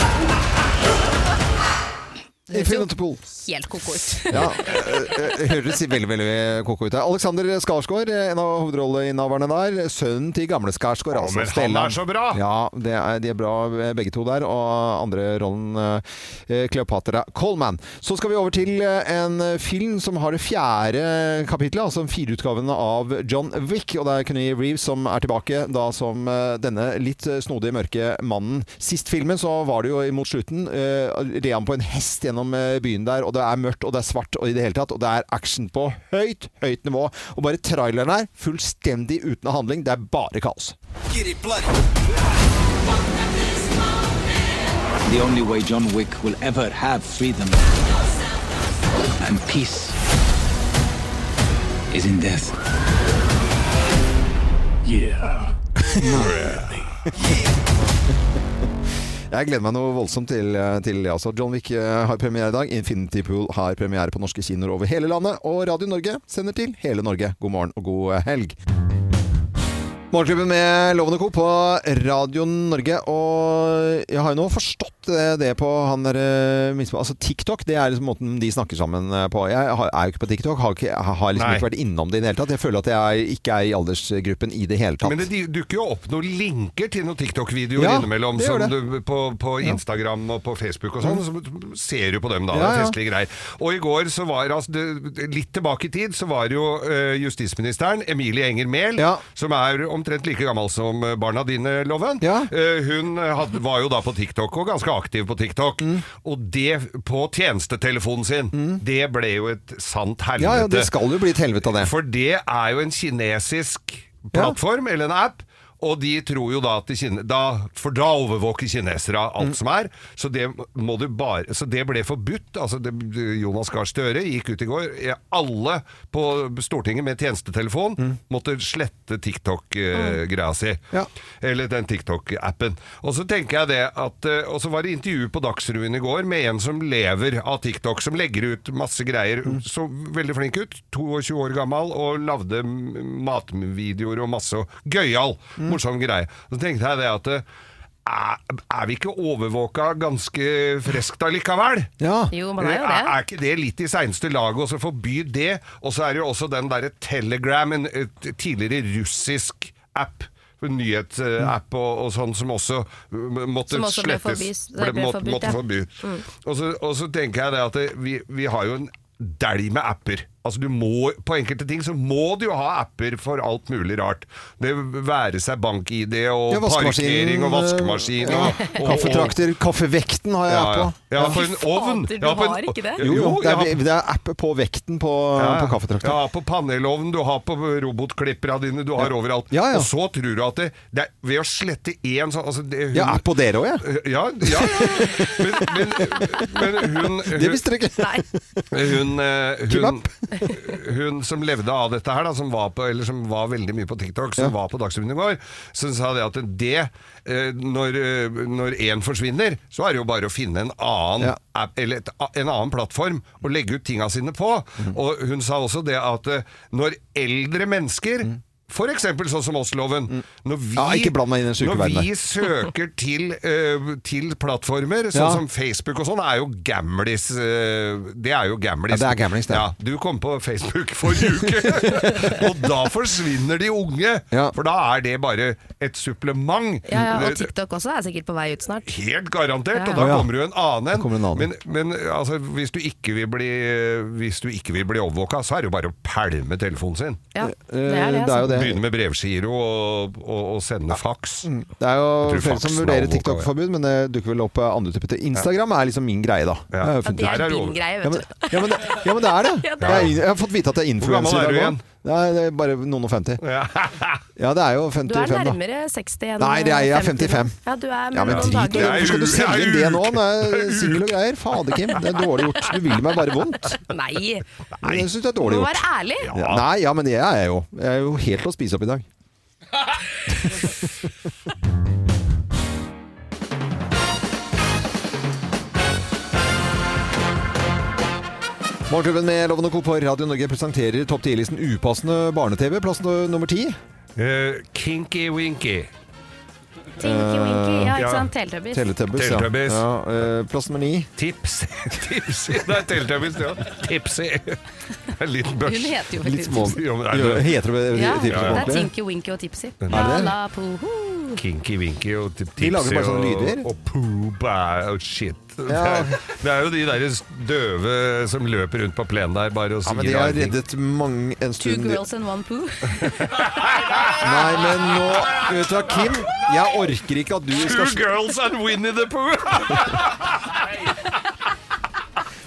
Infinitopol.
Helt koko
<laughs>
ut.
Ja, eh, eh, høres veldig veldig koko ut. her. Alexander Skarsgård, eh, en av hovedrolleinnehaverne der. Sønnen til gamle Skarsgård. altså
men han
Stellan.
er så bra!
Ja, det er, de er bra eh, begge to der. Og andre rollen eh, Cleopatra Colman. Så skal vi over til eh, en film som har det fjerde kapitlet, altså fireutgaven av John Wick. Og det er Kenny Reeves som er tilbake da som eh, denne litt eh, snodige, mørke mannen. Sist filmen så var det jo mot slutten eh, red han på en hest gjennom eh, byen der, og det er mørkt, og det er svart, og i det hele tatt, og det er action på høyt, høyt nivå. Og bare traileren her, fullstendig uten handling, det er bare kaos.
Get it bloody.
The only way John Wick will ever have freedom and peace is in death. Yeah.
Jeg gleder meg noe voldsomt til, til det, altså. John Wick eh, har premiere i dag. Infinity Pool har premiere på norske kinoer over hele landet. Og Radio Norge sender til hele Norge. God morgen og god eh, helg. Morgenklubben med Lovende Co. på Radio Norge. Og jeg har jo nå forstått det, det på han der eh, minst- Altså TikTok, det er liksom måten de snakker sammen eh, på. Jeg har, er jo ikke på TikTok. Har, ikke, har liksom
Nei.
ikke vært innom det i det hele tatt. Jeg føler at jeg ikke er i aldersgruppen i det hele tatt.
Men det dukker jo opp noen linker til noen TikTok-videoer
Ja,
innimellom
det
som
gjør
du, på, på Instagram og på Facebook og sånn. Så ser du på dem,
Ja,
da. det er
ja.
Festlige greier. Og i går, så var altså, det, litt tilbake i tid, så var jo eh, justisministeren, Emilie Enger Mehl, som er omtrent like gammel som eh, barna dine, Loven, Eh, hun hadde, var jo da på TikTok, og ganske aktiv på TikTok.
Mm.
Og det på tjenestetelefonen sin, det ble jo et sant helvete.
Ja, ja, det skal jo bli et helvete av det.
For det er jo en kinesisk plattform, eller en app. Og de tror jo da at de kine, da, For da overvåker kinesere alt som er. Så det, må du bare, så det ble forbudt. Altså det, Jonas Gahr Støre gikk ut i går. eh, Alle på Stortinget med tjenestetelefon måtte slette TikTok-greia si. Eller den TikTok-appen. Og så tenker jeg det at eh, Og så var det intervju på Dagsrevyen i går med en som lever av TikTok, som legger ut masse greier. Så veldig flink ut. 22 år gammel og lagde m- matvideoer og masse og gøyal. Morsom greie. Så tenkte jeg det at eh, er, er vi ikke overvåka ganske friskt allikevel?
Jo, man er jo det.
Eh, Er, er ikke det litt i seineste laget å så forby det? Og så er det jo også den derre Telegram, en eh, tidligere russisk app. Nyhetsapp og, og sånn som også eh, måtte
Som også ble
slettes.
forbys- det ble
må-
forbudt,
måtte
ja.
forby.
Mm.
Og så, og så tenker jeg det at det, vi, vi har jo en dælj med apper. Altså du må, På enkelte ting så må du jo ha apper for alt mulig rart. Det være seg bank-ID og
Ja, vaskemaskin, eh,
parkering og vaskemaskin.
ja,
og- og-
Kaffetrakter, kaffevekten har jeg
Ja,
app
ja.
på.
Ja, for en Fy ovn. fader, du Ja, for en- har ikke det?
Jo, jo,
Jo,
det
jeg
er,
har-
det er app på vekten på, på kaffetrakter.
Ja, på panelovnen, du har på robotklipperene dine, du har overalt.
Ja, ja.
Og så tror du at det, det er ved å slette én sånn altså det, hun,
Jeg er på dere òg, jeg.
Ja,
<laughs>
ja. Men, men, men hun, hun
Det visste dere ikke.
Hun, eh, hun, eh, hun som levde av dette her, da, som, var på, eller som var veldig mye på TikTok, som var på Dagsrevyen i går, som sa det at det eh, Når eh, når én forsvinner, så er det jo bare å finne en annen app, eller et, a- en annen plattform og legge ut tinga sine på.
Mhm.
Og hun sa også det at eh, når eldre mennesker For eksempel sånn som oss-loven. Når
Mhm. Mm.
vi,
Ja, ikke bland meg inn i den syke
når vi
verden der.
søker til, eh, til plattformer, sånn
Ja.
som Facebook og sånn, er jo gamlis eh, Det er jo gamlis.
Ja, det er gamlis, det.
Ja, du kom på Facebook forrige
<laughs>
uke, og da forsvinner de unge. For da er det bare et supplement.
Ja, ja, og
Det-
TikTok også er sikkert på vei ut snart.
Helt garantert,
Ja, ja.
og da
Ja.
kommer jo en annen en. Men, men altså, hvis, du ikke vil bli, hvis du ikke vil bli overvåka, så er det jo bare å pælme telefonen sin.
Ja,
Eh, det
altså.
er jo det.
Begynne med brevgiro og, og, og sende faks.
Det er jo
Jeg tror
flere som
faksen er
vurderer
overvåka,
TikTok-forbud, men det dukker vel opp eh, andre typer til. Instagram er liksom min greie, da. Jeg har jo funnet
Ja, det er
ut.
din greie, vet
Ja, men- Ja, men, det- ja, men det er det.
<laughs> Ja, det er
Jeg,
det.
jeg har fått vite at jeg er
Hvor gammel
influenser.
er du igjen?
Nei, det er bare noen og femti.
<laughs>
Ja, det er jo
Du er
55, da.
nærmere 60 enn
Nei, det er, jeg er 55.
Ja, du er
Ja, men
mellom
drit i det.
dager.
Hvorfor skal du selge inn det nå? Det er singel og greier. Fader, Kim. Det er dårlig gjort. Du vil meg bare vondt.
Nei.
Jeg syns det er dårlig
Du må
gjort.
være ærlig.
Ja. Nei, ja, men jeg er jo Jeg er jo helt til å spise opp i dag. <laughs> Morgenklubben med Lovende Co. på Radio Norge presenterer topp 10-listen upassende barne-TV, plass no- nummer 10.
Eh, kinky Winky.
Tinky Winky,
ja, ikke sant? Teletubbies.
Teletubbies, ja.
Teletubbies.
ja. eh, plass nummer 9.
Tips. <laughs> Tipsy. Nei, Teletubbies, ja. Tipsy. En liten børs.
Hun heter jo faktisk Litt <laughs> små- Tipsy.
Jo, men
Jo, heter det
Ja,
Tipsy
det
på
er
ordentlig?
Tinky Winky og Tipsy.
Er det
La
det?
la poho.
Kinky Winky og tip-
De
Tipsy
lager bare sånne lyder.
Og, og Pooba og shit. Det,
Ja.
er, det er jo de der døve som løper rundt på plenen der bare og
Ja,
sier
men de har
rare ting.
reddet mange en
Two
stund.
girls and one poo.
Nei, men nå Vet du hva, Kim? Jeg orker ikke at du
Two
skal
girls and Winnie the Pooh!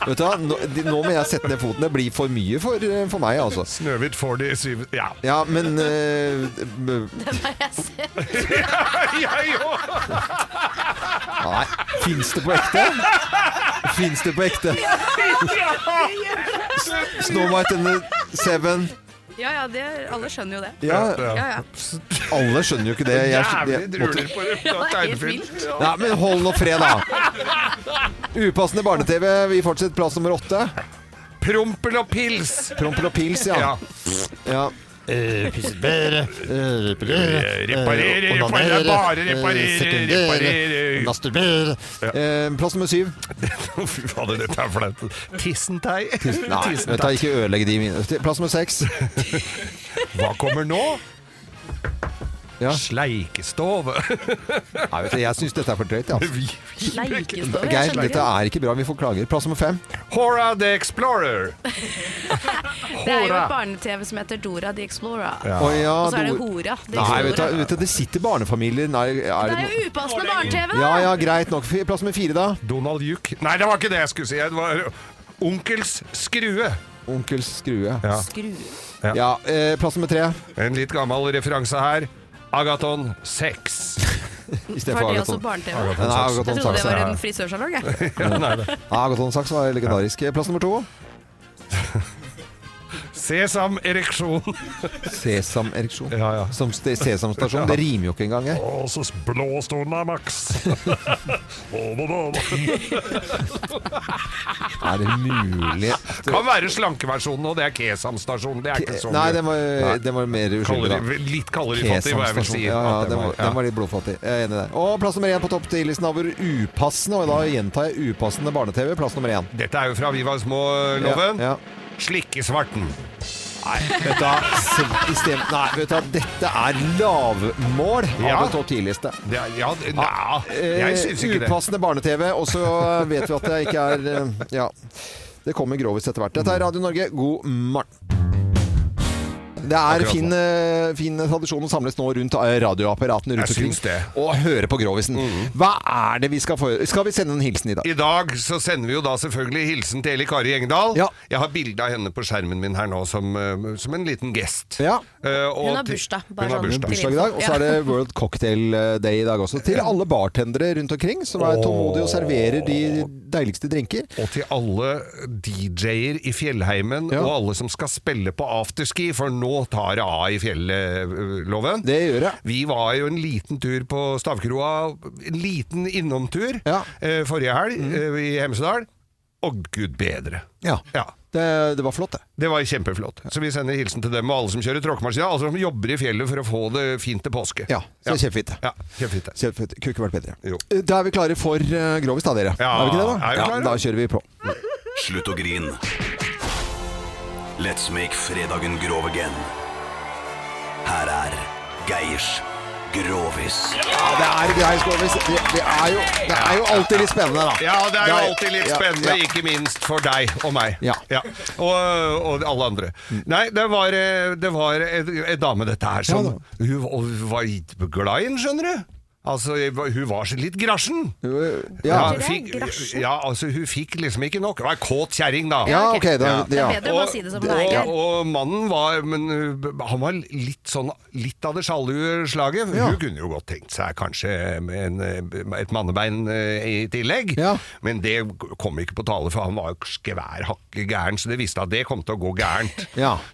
Vet du hva, nå, de, nå må jeg sette ned foten. Det blir for mye for, for meg, altså.
Snøhvit 47 Ja. <laughs>
Ja, men eh, b-
Den har jeg sett.
Jeg òg!
Nei. Fins det på ekte? Fins det på ekte? Snow White and the Seven.
<laughs> Ja ja, det, alle skjønner jo det.
Ja.
ja, ja.
Alle skjønner jo ikke det. Jeg, skj-
Jævlig
det-
druler på det.
Ja, det er helt
Tegnefilm.
vilt.
Nei, men hold nå fred, da. Upassende barne-TV. Vi fortsetter plass nummer åtte.
Prompel og pils.
Prompel og pils, ja. ja. Eh,
Pisserbære, reparere,
Reparere, reparere, bare reparere,
eh,
reparere.
masturbere.
plass nummer syv.
<laughs> Fy fader, dette er flaut. Tissentei.
Nei, vet du, ikke ødelegge de mine. Plass nummer seks.
Hva kommer nå?
Ja.
<laughs> Sleikestove.
Nei, vet du, jeg syns dette er for drøyt. Altså.
Sleikestove.
Geir,
jeg skjønner
dette
ikke.
er ikke bra. Vi får klager. Plass nummer fem.
Hora the Explorer.
<laughs> Det er jo
Hora.
et barne-TV som heter Dora the Explorer.
Ja. Å, ja,
og så er det
Dora-
Hora. The
Nei, vet du,
Explorer.
vet du, det sitter barnefamilier Nei, er
Det
det
er
noe
jo upassende barne-TV, da!
Ja, ja, greit nok. F- Plass nummer fire, da.
Donald Duck. Nei, det var ikke det jeg skulle si. Det var Onkels skrue.
Onkel Skrue.
Ja.
Ja, eh, plass nummer tre.
En litt gammel referanse her. Agaton 6.
I stedet
Var
for
det også
Agaton.
barne-TV?
Nei,
Jeg
Agaton
trodde det
Saks,
var
Sånn ja.
en frisørsalong, jeg.
Ja, nei, det.
Ja, Agaton Saks var legendarisk. Plass nummer to.
Sesam ereksjon.
Sesamereksjon.
Ja, ja.
Som ste-
<laughs>
sesamstasjon. Det rimer jo ikke engang. Jeg.
Å, så blåst unna, Max. <laughs>
Er det mulig at det-
Kan være slankeversjonen, og det er Kesam-stasjonen. Det er ikke sånn så
Nei,
mye.
den var,
Nei.
den var mer uskyldig, da.
Kalori- litt kalorifattig, hva jeg vil si.
Ja, ja,
at den
den var,
var- ja.
den var litt blodfattig. Jeg er enig der. Og plass nummer én på topp 10-listen over upassende, og da gjentar jeg upassende barne-TV. Plass nummer én.
Dette er jo fra Vi var små, Loven. Slikkesvarten.
Nei, vet du hva. Selv- i stedet- Nei, vet du hva. Dette er lavmål
Ja.
av en topp 10-liste.
Det er, ja, det, nja,
Eh,
jeg syns ikke det.
Upassende barne-TV, og så vet vi at det ikke er eh, Ja. Det kommer grovis etter hvert. Dette er Radio Norge, god morgen. Det er
Akkurat
fin, eh, fin tradisjon å samles nå rundt eh, radioapparatene rundt
Jeg
omkring
syns det. Mm.
og høre på Grovisen. Hva er det vi skal få Skal vi sende en hilsen i dag?
I dag så sender vi jo da selvfølgelig hilsen til Eli Kari Engdahl. Jeg har bilde av henne på skjermen min her nå som, eh, som en liten gest. Eh, og
Hun har
til-
bursdag, bare
Hun har
sånn
bursdag.
til
Bursdag i dag, og så er
Ja.
det World Cocktail eh, Day i dag også. Til alle bartendere rundt omkring som er tålmodige og serverer de deiligste drinker.
Og til alle DJ-er i fjellheimen, og alle som skal spille på afterski, for nå tar det av i fjelloven.
Det gjør det.
Vi var jo en liten tur på Stavkroa, en liten innomtur eh, forrige helg eh, i Hemsedal. Og gud bedre.
Ja. Det, det var flott, det.
Det var kjempeflott. Så vi sender hilsen til dem og alle som kjører tråkkemaskin, alle som jobber i fjellet for å få det fint til påske.
Ja, så kjempefint.
Ja, kjempefint.
Kjempefint. Kunne ikke vært bedre.
Jo.
Da er vi klare for eh, Grovis, da, dere.
Ja,
er vi ikke det, da?
er vi klare?
da kjører vi på.
Slutt å grine. Let's make fredagen grov again. Her er Geirs Grovis.
Det er Geirs Grovis. Det, det, er jo, det er jo alltid litt spennende, da.
Ja, det er jo alltid litt
ja,
spennende,
ja.
ikke minst for deg og meg. Ja. Og, og alle andre. Nei, det var, eh, det var ei dame, dette her, som Hun var- hun var glad i den, skjønner du. Altså, hun var så litt grasjen.
ja.
hun fikk, ja, altså hun fikk liksom ikke nok. Hun var ei kåt kjerring, da.
Ja, ok, da-
Ja.
det- ja. Det er bedre å bare si det som det er, Geir.
Og, og mannen var Men uh, han var litt sånn Litt av det sjalue slaget. Hun kunne jo godt tenkt seg kanskje en, uh, et mannebein uh, i tillegg, men det kom ikke på tale, for han var jo skvær hakke gæren, så det visste at det kom til å gå gærent.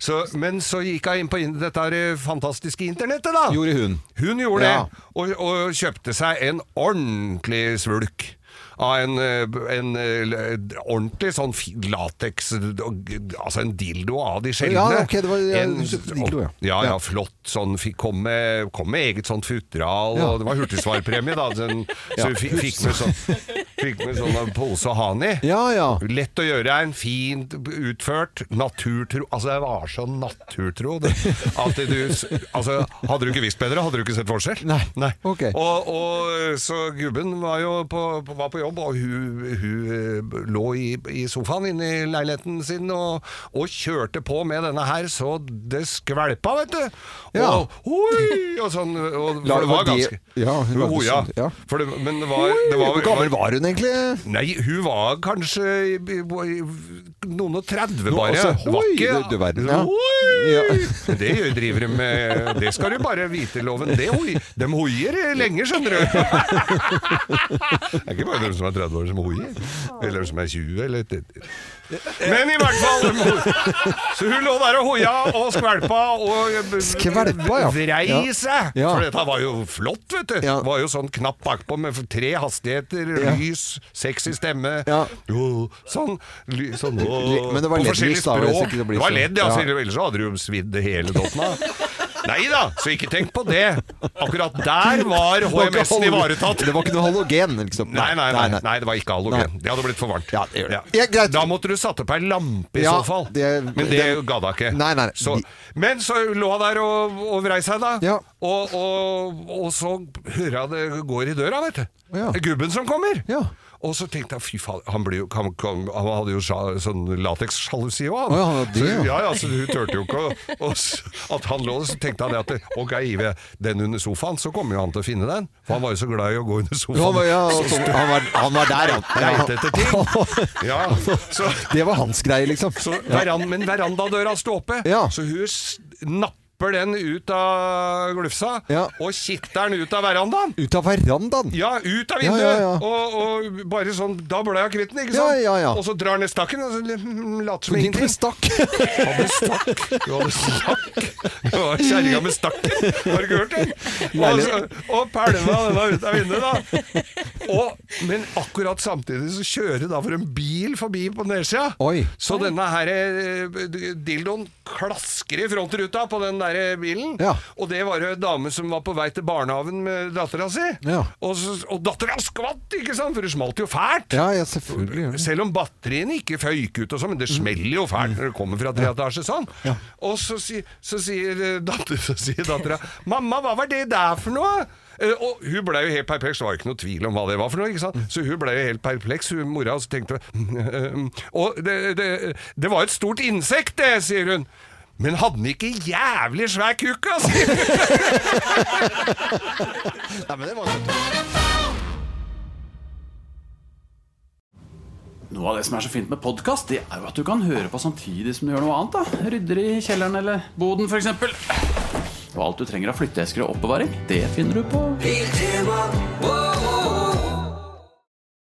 Så, men så gikk hun inn på in- dette her eh, fantastiske internettet, da.
Gjorde hun.
Hun gjorde
Ja.
det, og, og kjøpte seg en ordentlig svulk. av en, eh, en eh, ordentlig sånn lateks Altså en dildo av de sjeldne.
Ja, ok, det var- ja,
en,
dildo, ja.
ja,
Ja.
flott. Sånn, fikk, kom, med, kom med eget sånt futteral,
Ja.
og det var hurtigsvarpremie, da. Sånn,
Ja.
Så vi fikk, fikk med sånn Fikk med sånn pose og han i. Lett å gjøre en, fint utført, naturtro Altså, jeg var så naturtro det, at du Altså, hadde du ikke visst bedre, hadde du ikke sett forskjell. Nei. Og, og så gubben var jo på, på, var på jobb, og hun, hun eh, lå i, i sofaen inne i leiligheten sin og, og kjørte på med denne her, så det skvelpa, vet du. Og,
Ja.
oi, og sånn og,
La-
for det var
de-
ganske
Ja, hun var
Jo, ja.
sånn, ja.
For det, men det var, det var
Hvor gammel var hun egentlig?
Nei, hun var kanskje i- i- i- noen og 30
Nå,
bare.
altså,
Hun var
oi,
ikke-
du- du verden, ja.
Oi!
Ja.
Det gjør- driver de med Det skal du bare vite, loven. Det hoi, de hoier lenge, skjønner
<laughs>
du. Det er ikke bare de som er 30 år som hoier. Eller de som er 20, eller Men i hvert fall de hoier. Så hun lå der og hoia og skvelpa og
Skvelpa, ja. Ja.
vrei seg.
Ja.
For dette var jo flott, vet du. Det var jo sånn knapp bakpå med tre hastigheter,
Ja.
lys, sexy stemme. Jo, sånn, ly, sånn
Li- men det var
og
LED-lys
forskjellig
da, hvis
språk.
ikke det blir
Det var
så-
ledd, ja,
ja.
så ellers hadde du jo svidd hele dotten av.
<laughs>
Nei da, så ikke tenk på det. Akkurat der var
Det var ikke
HMS-en
halo-
ivaretatt.
Det var ikke noe halogen, liksom.
Nei, nei, nei, nei, det var ikke halogen.
Nei.
Det hadde blitt for varmt. Ja.
Ja, greit.
Da måtte du satt opp ei lampe i
Ja,
så fall.
det-
men det,
det-
ga da ikke.
Nei, nei, nei.
Så,
De-
men så lå hun der og, og vrei seg, da. Og, og, og så hører jeg det går i døra, vet du. Det er Gubben som kommer. Og så tenkte jeg fy faen, han, ble jo, han, kom, han hadde jo sja- sånn lateks-sjalusi òg,
Å
han.
ja, han hadde det, ja.
så, ja, ja, så hun turte jo ikke å- å s- At han lå så tenkte han det at det- Ok, Ive, den under sofaen, så kommer jo han til å finne den. For han var jo så glad i å gå under sofaen.
Ja, men ja,
Så
sånn,
stø-
han, var, han var der,
<laughs>
ja.
Leit etter
<laughs>
ting. Ja, så,
Det var hans greie, liksom. Ja.
veran, men verandadøra sto oppe, så hun s- napper den ut av glufsa, og kitter den ut av verandaen.
Ut av verandaen?
Ja, ut av
sånn. Ja,
vinduet!
ja, ja.
Og, og bare sånn Da ble jeg kvitt den, ikke
Ja,
sant?
ja, ja.
Og så drar han ned stakken, og så l- later som
Men
ingenting.
ikke stakk.
Hadde stakk. Du hadde stakk. Det var kjerringa med stakken. Har du ikke hørt det? Og,
Leilig.
så, og pælma denne ut av vinduet, da. Og, men akkurat samtidig så kjører da for en bil forbi på nedsida. Så denne her eh, dildoen klasker i frontruta på den der eh, bilen. Og det var jo en dame som var på vei til barnehagen med dattera si.
Ja.
Og, så- og dattera skvatt, ikke sant? For det smalt jo fælt.
Ja, ja, Mm. selvfølgelig. gjør det.
Selv om batteriene ikke føyk ut og sånn, men det smeller jo fælt når det kommer fra tre etasjer sånn. Og så, si, så sier eh, datter- så sier dattera 'Mamma, hva var det der for noe?' Eh, og hun ble jo helt perpleks, det var jo ikke noe tvil om hva det var for noe. ikke sant? Så hun ble jo helt perpleks, hun mora, og så tenkte hun <laughs> um, Og det, det, det var jo et stort insekt, det, sier hun. Men hadde den ikke jævlig svær kukk, altså?
Nei, men det var
Noe av det som er så fint med podkast, det er jo at du kan høre på samtidig som du gjør noe annet. da Rydder i kjelleren eller boden, f.eks. Og alt du trenger av flytteesker og oppbevaring, det finner du på
Biltema, wow.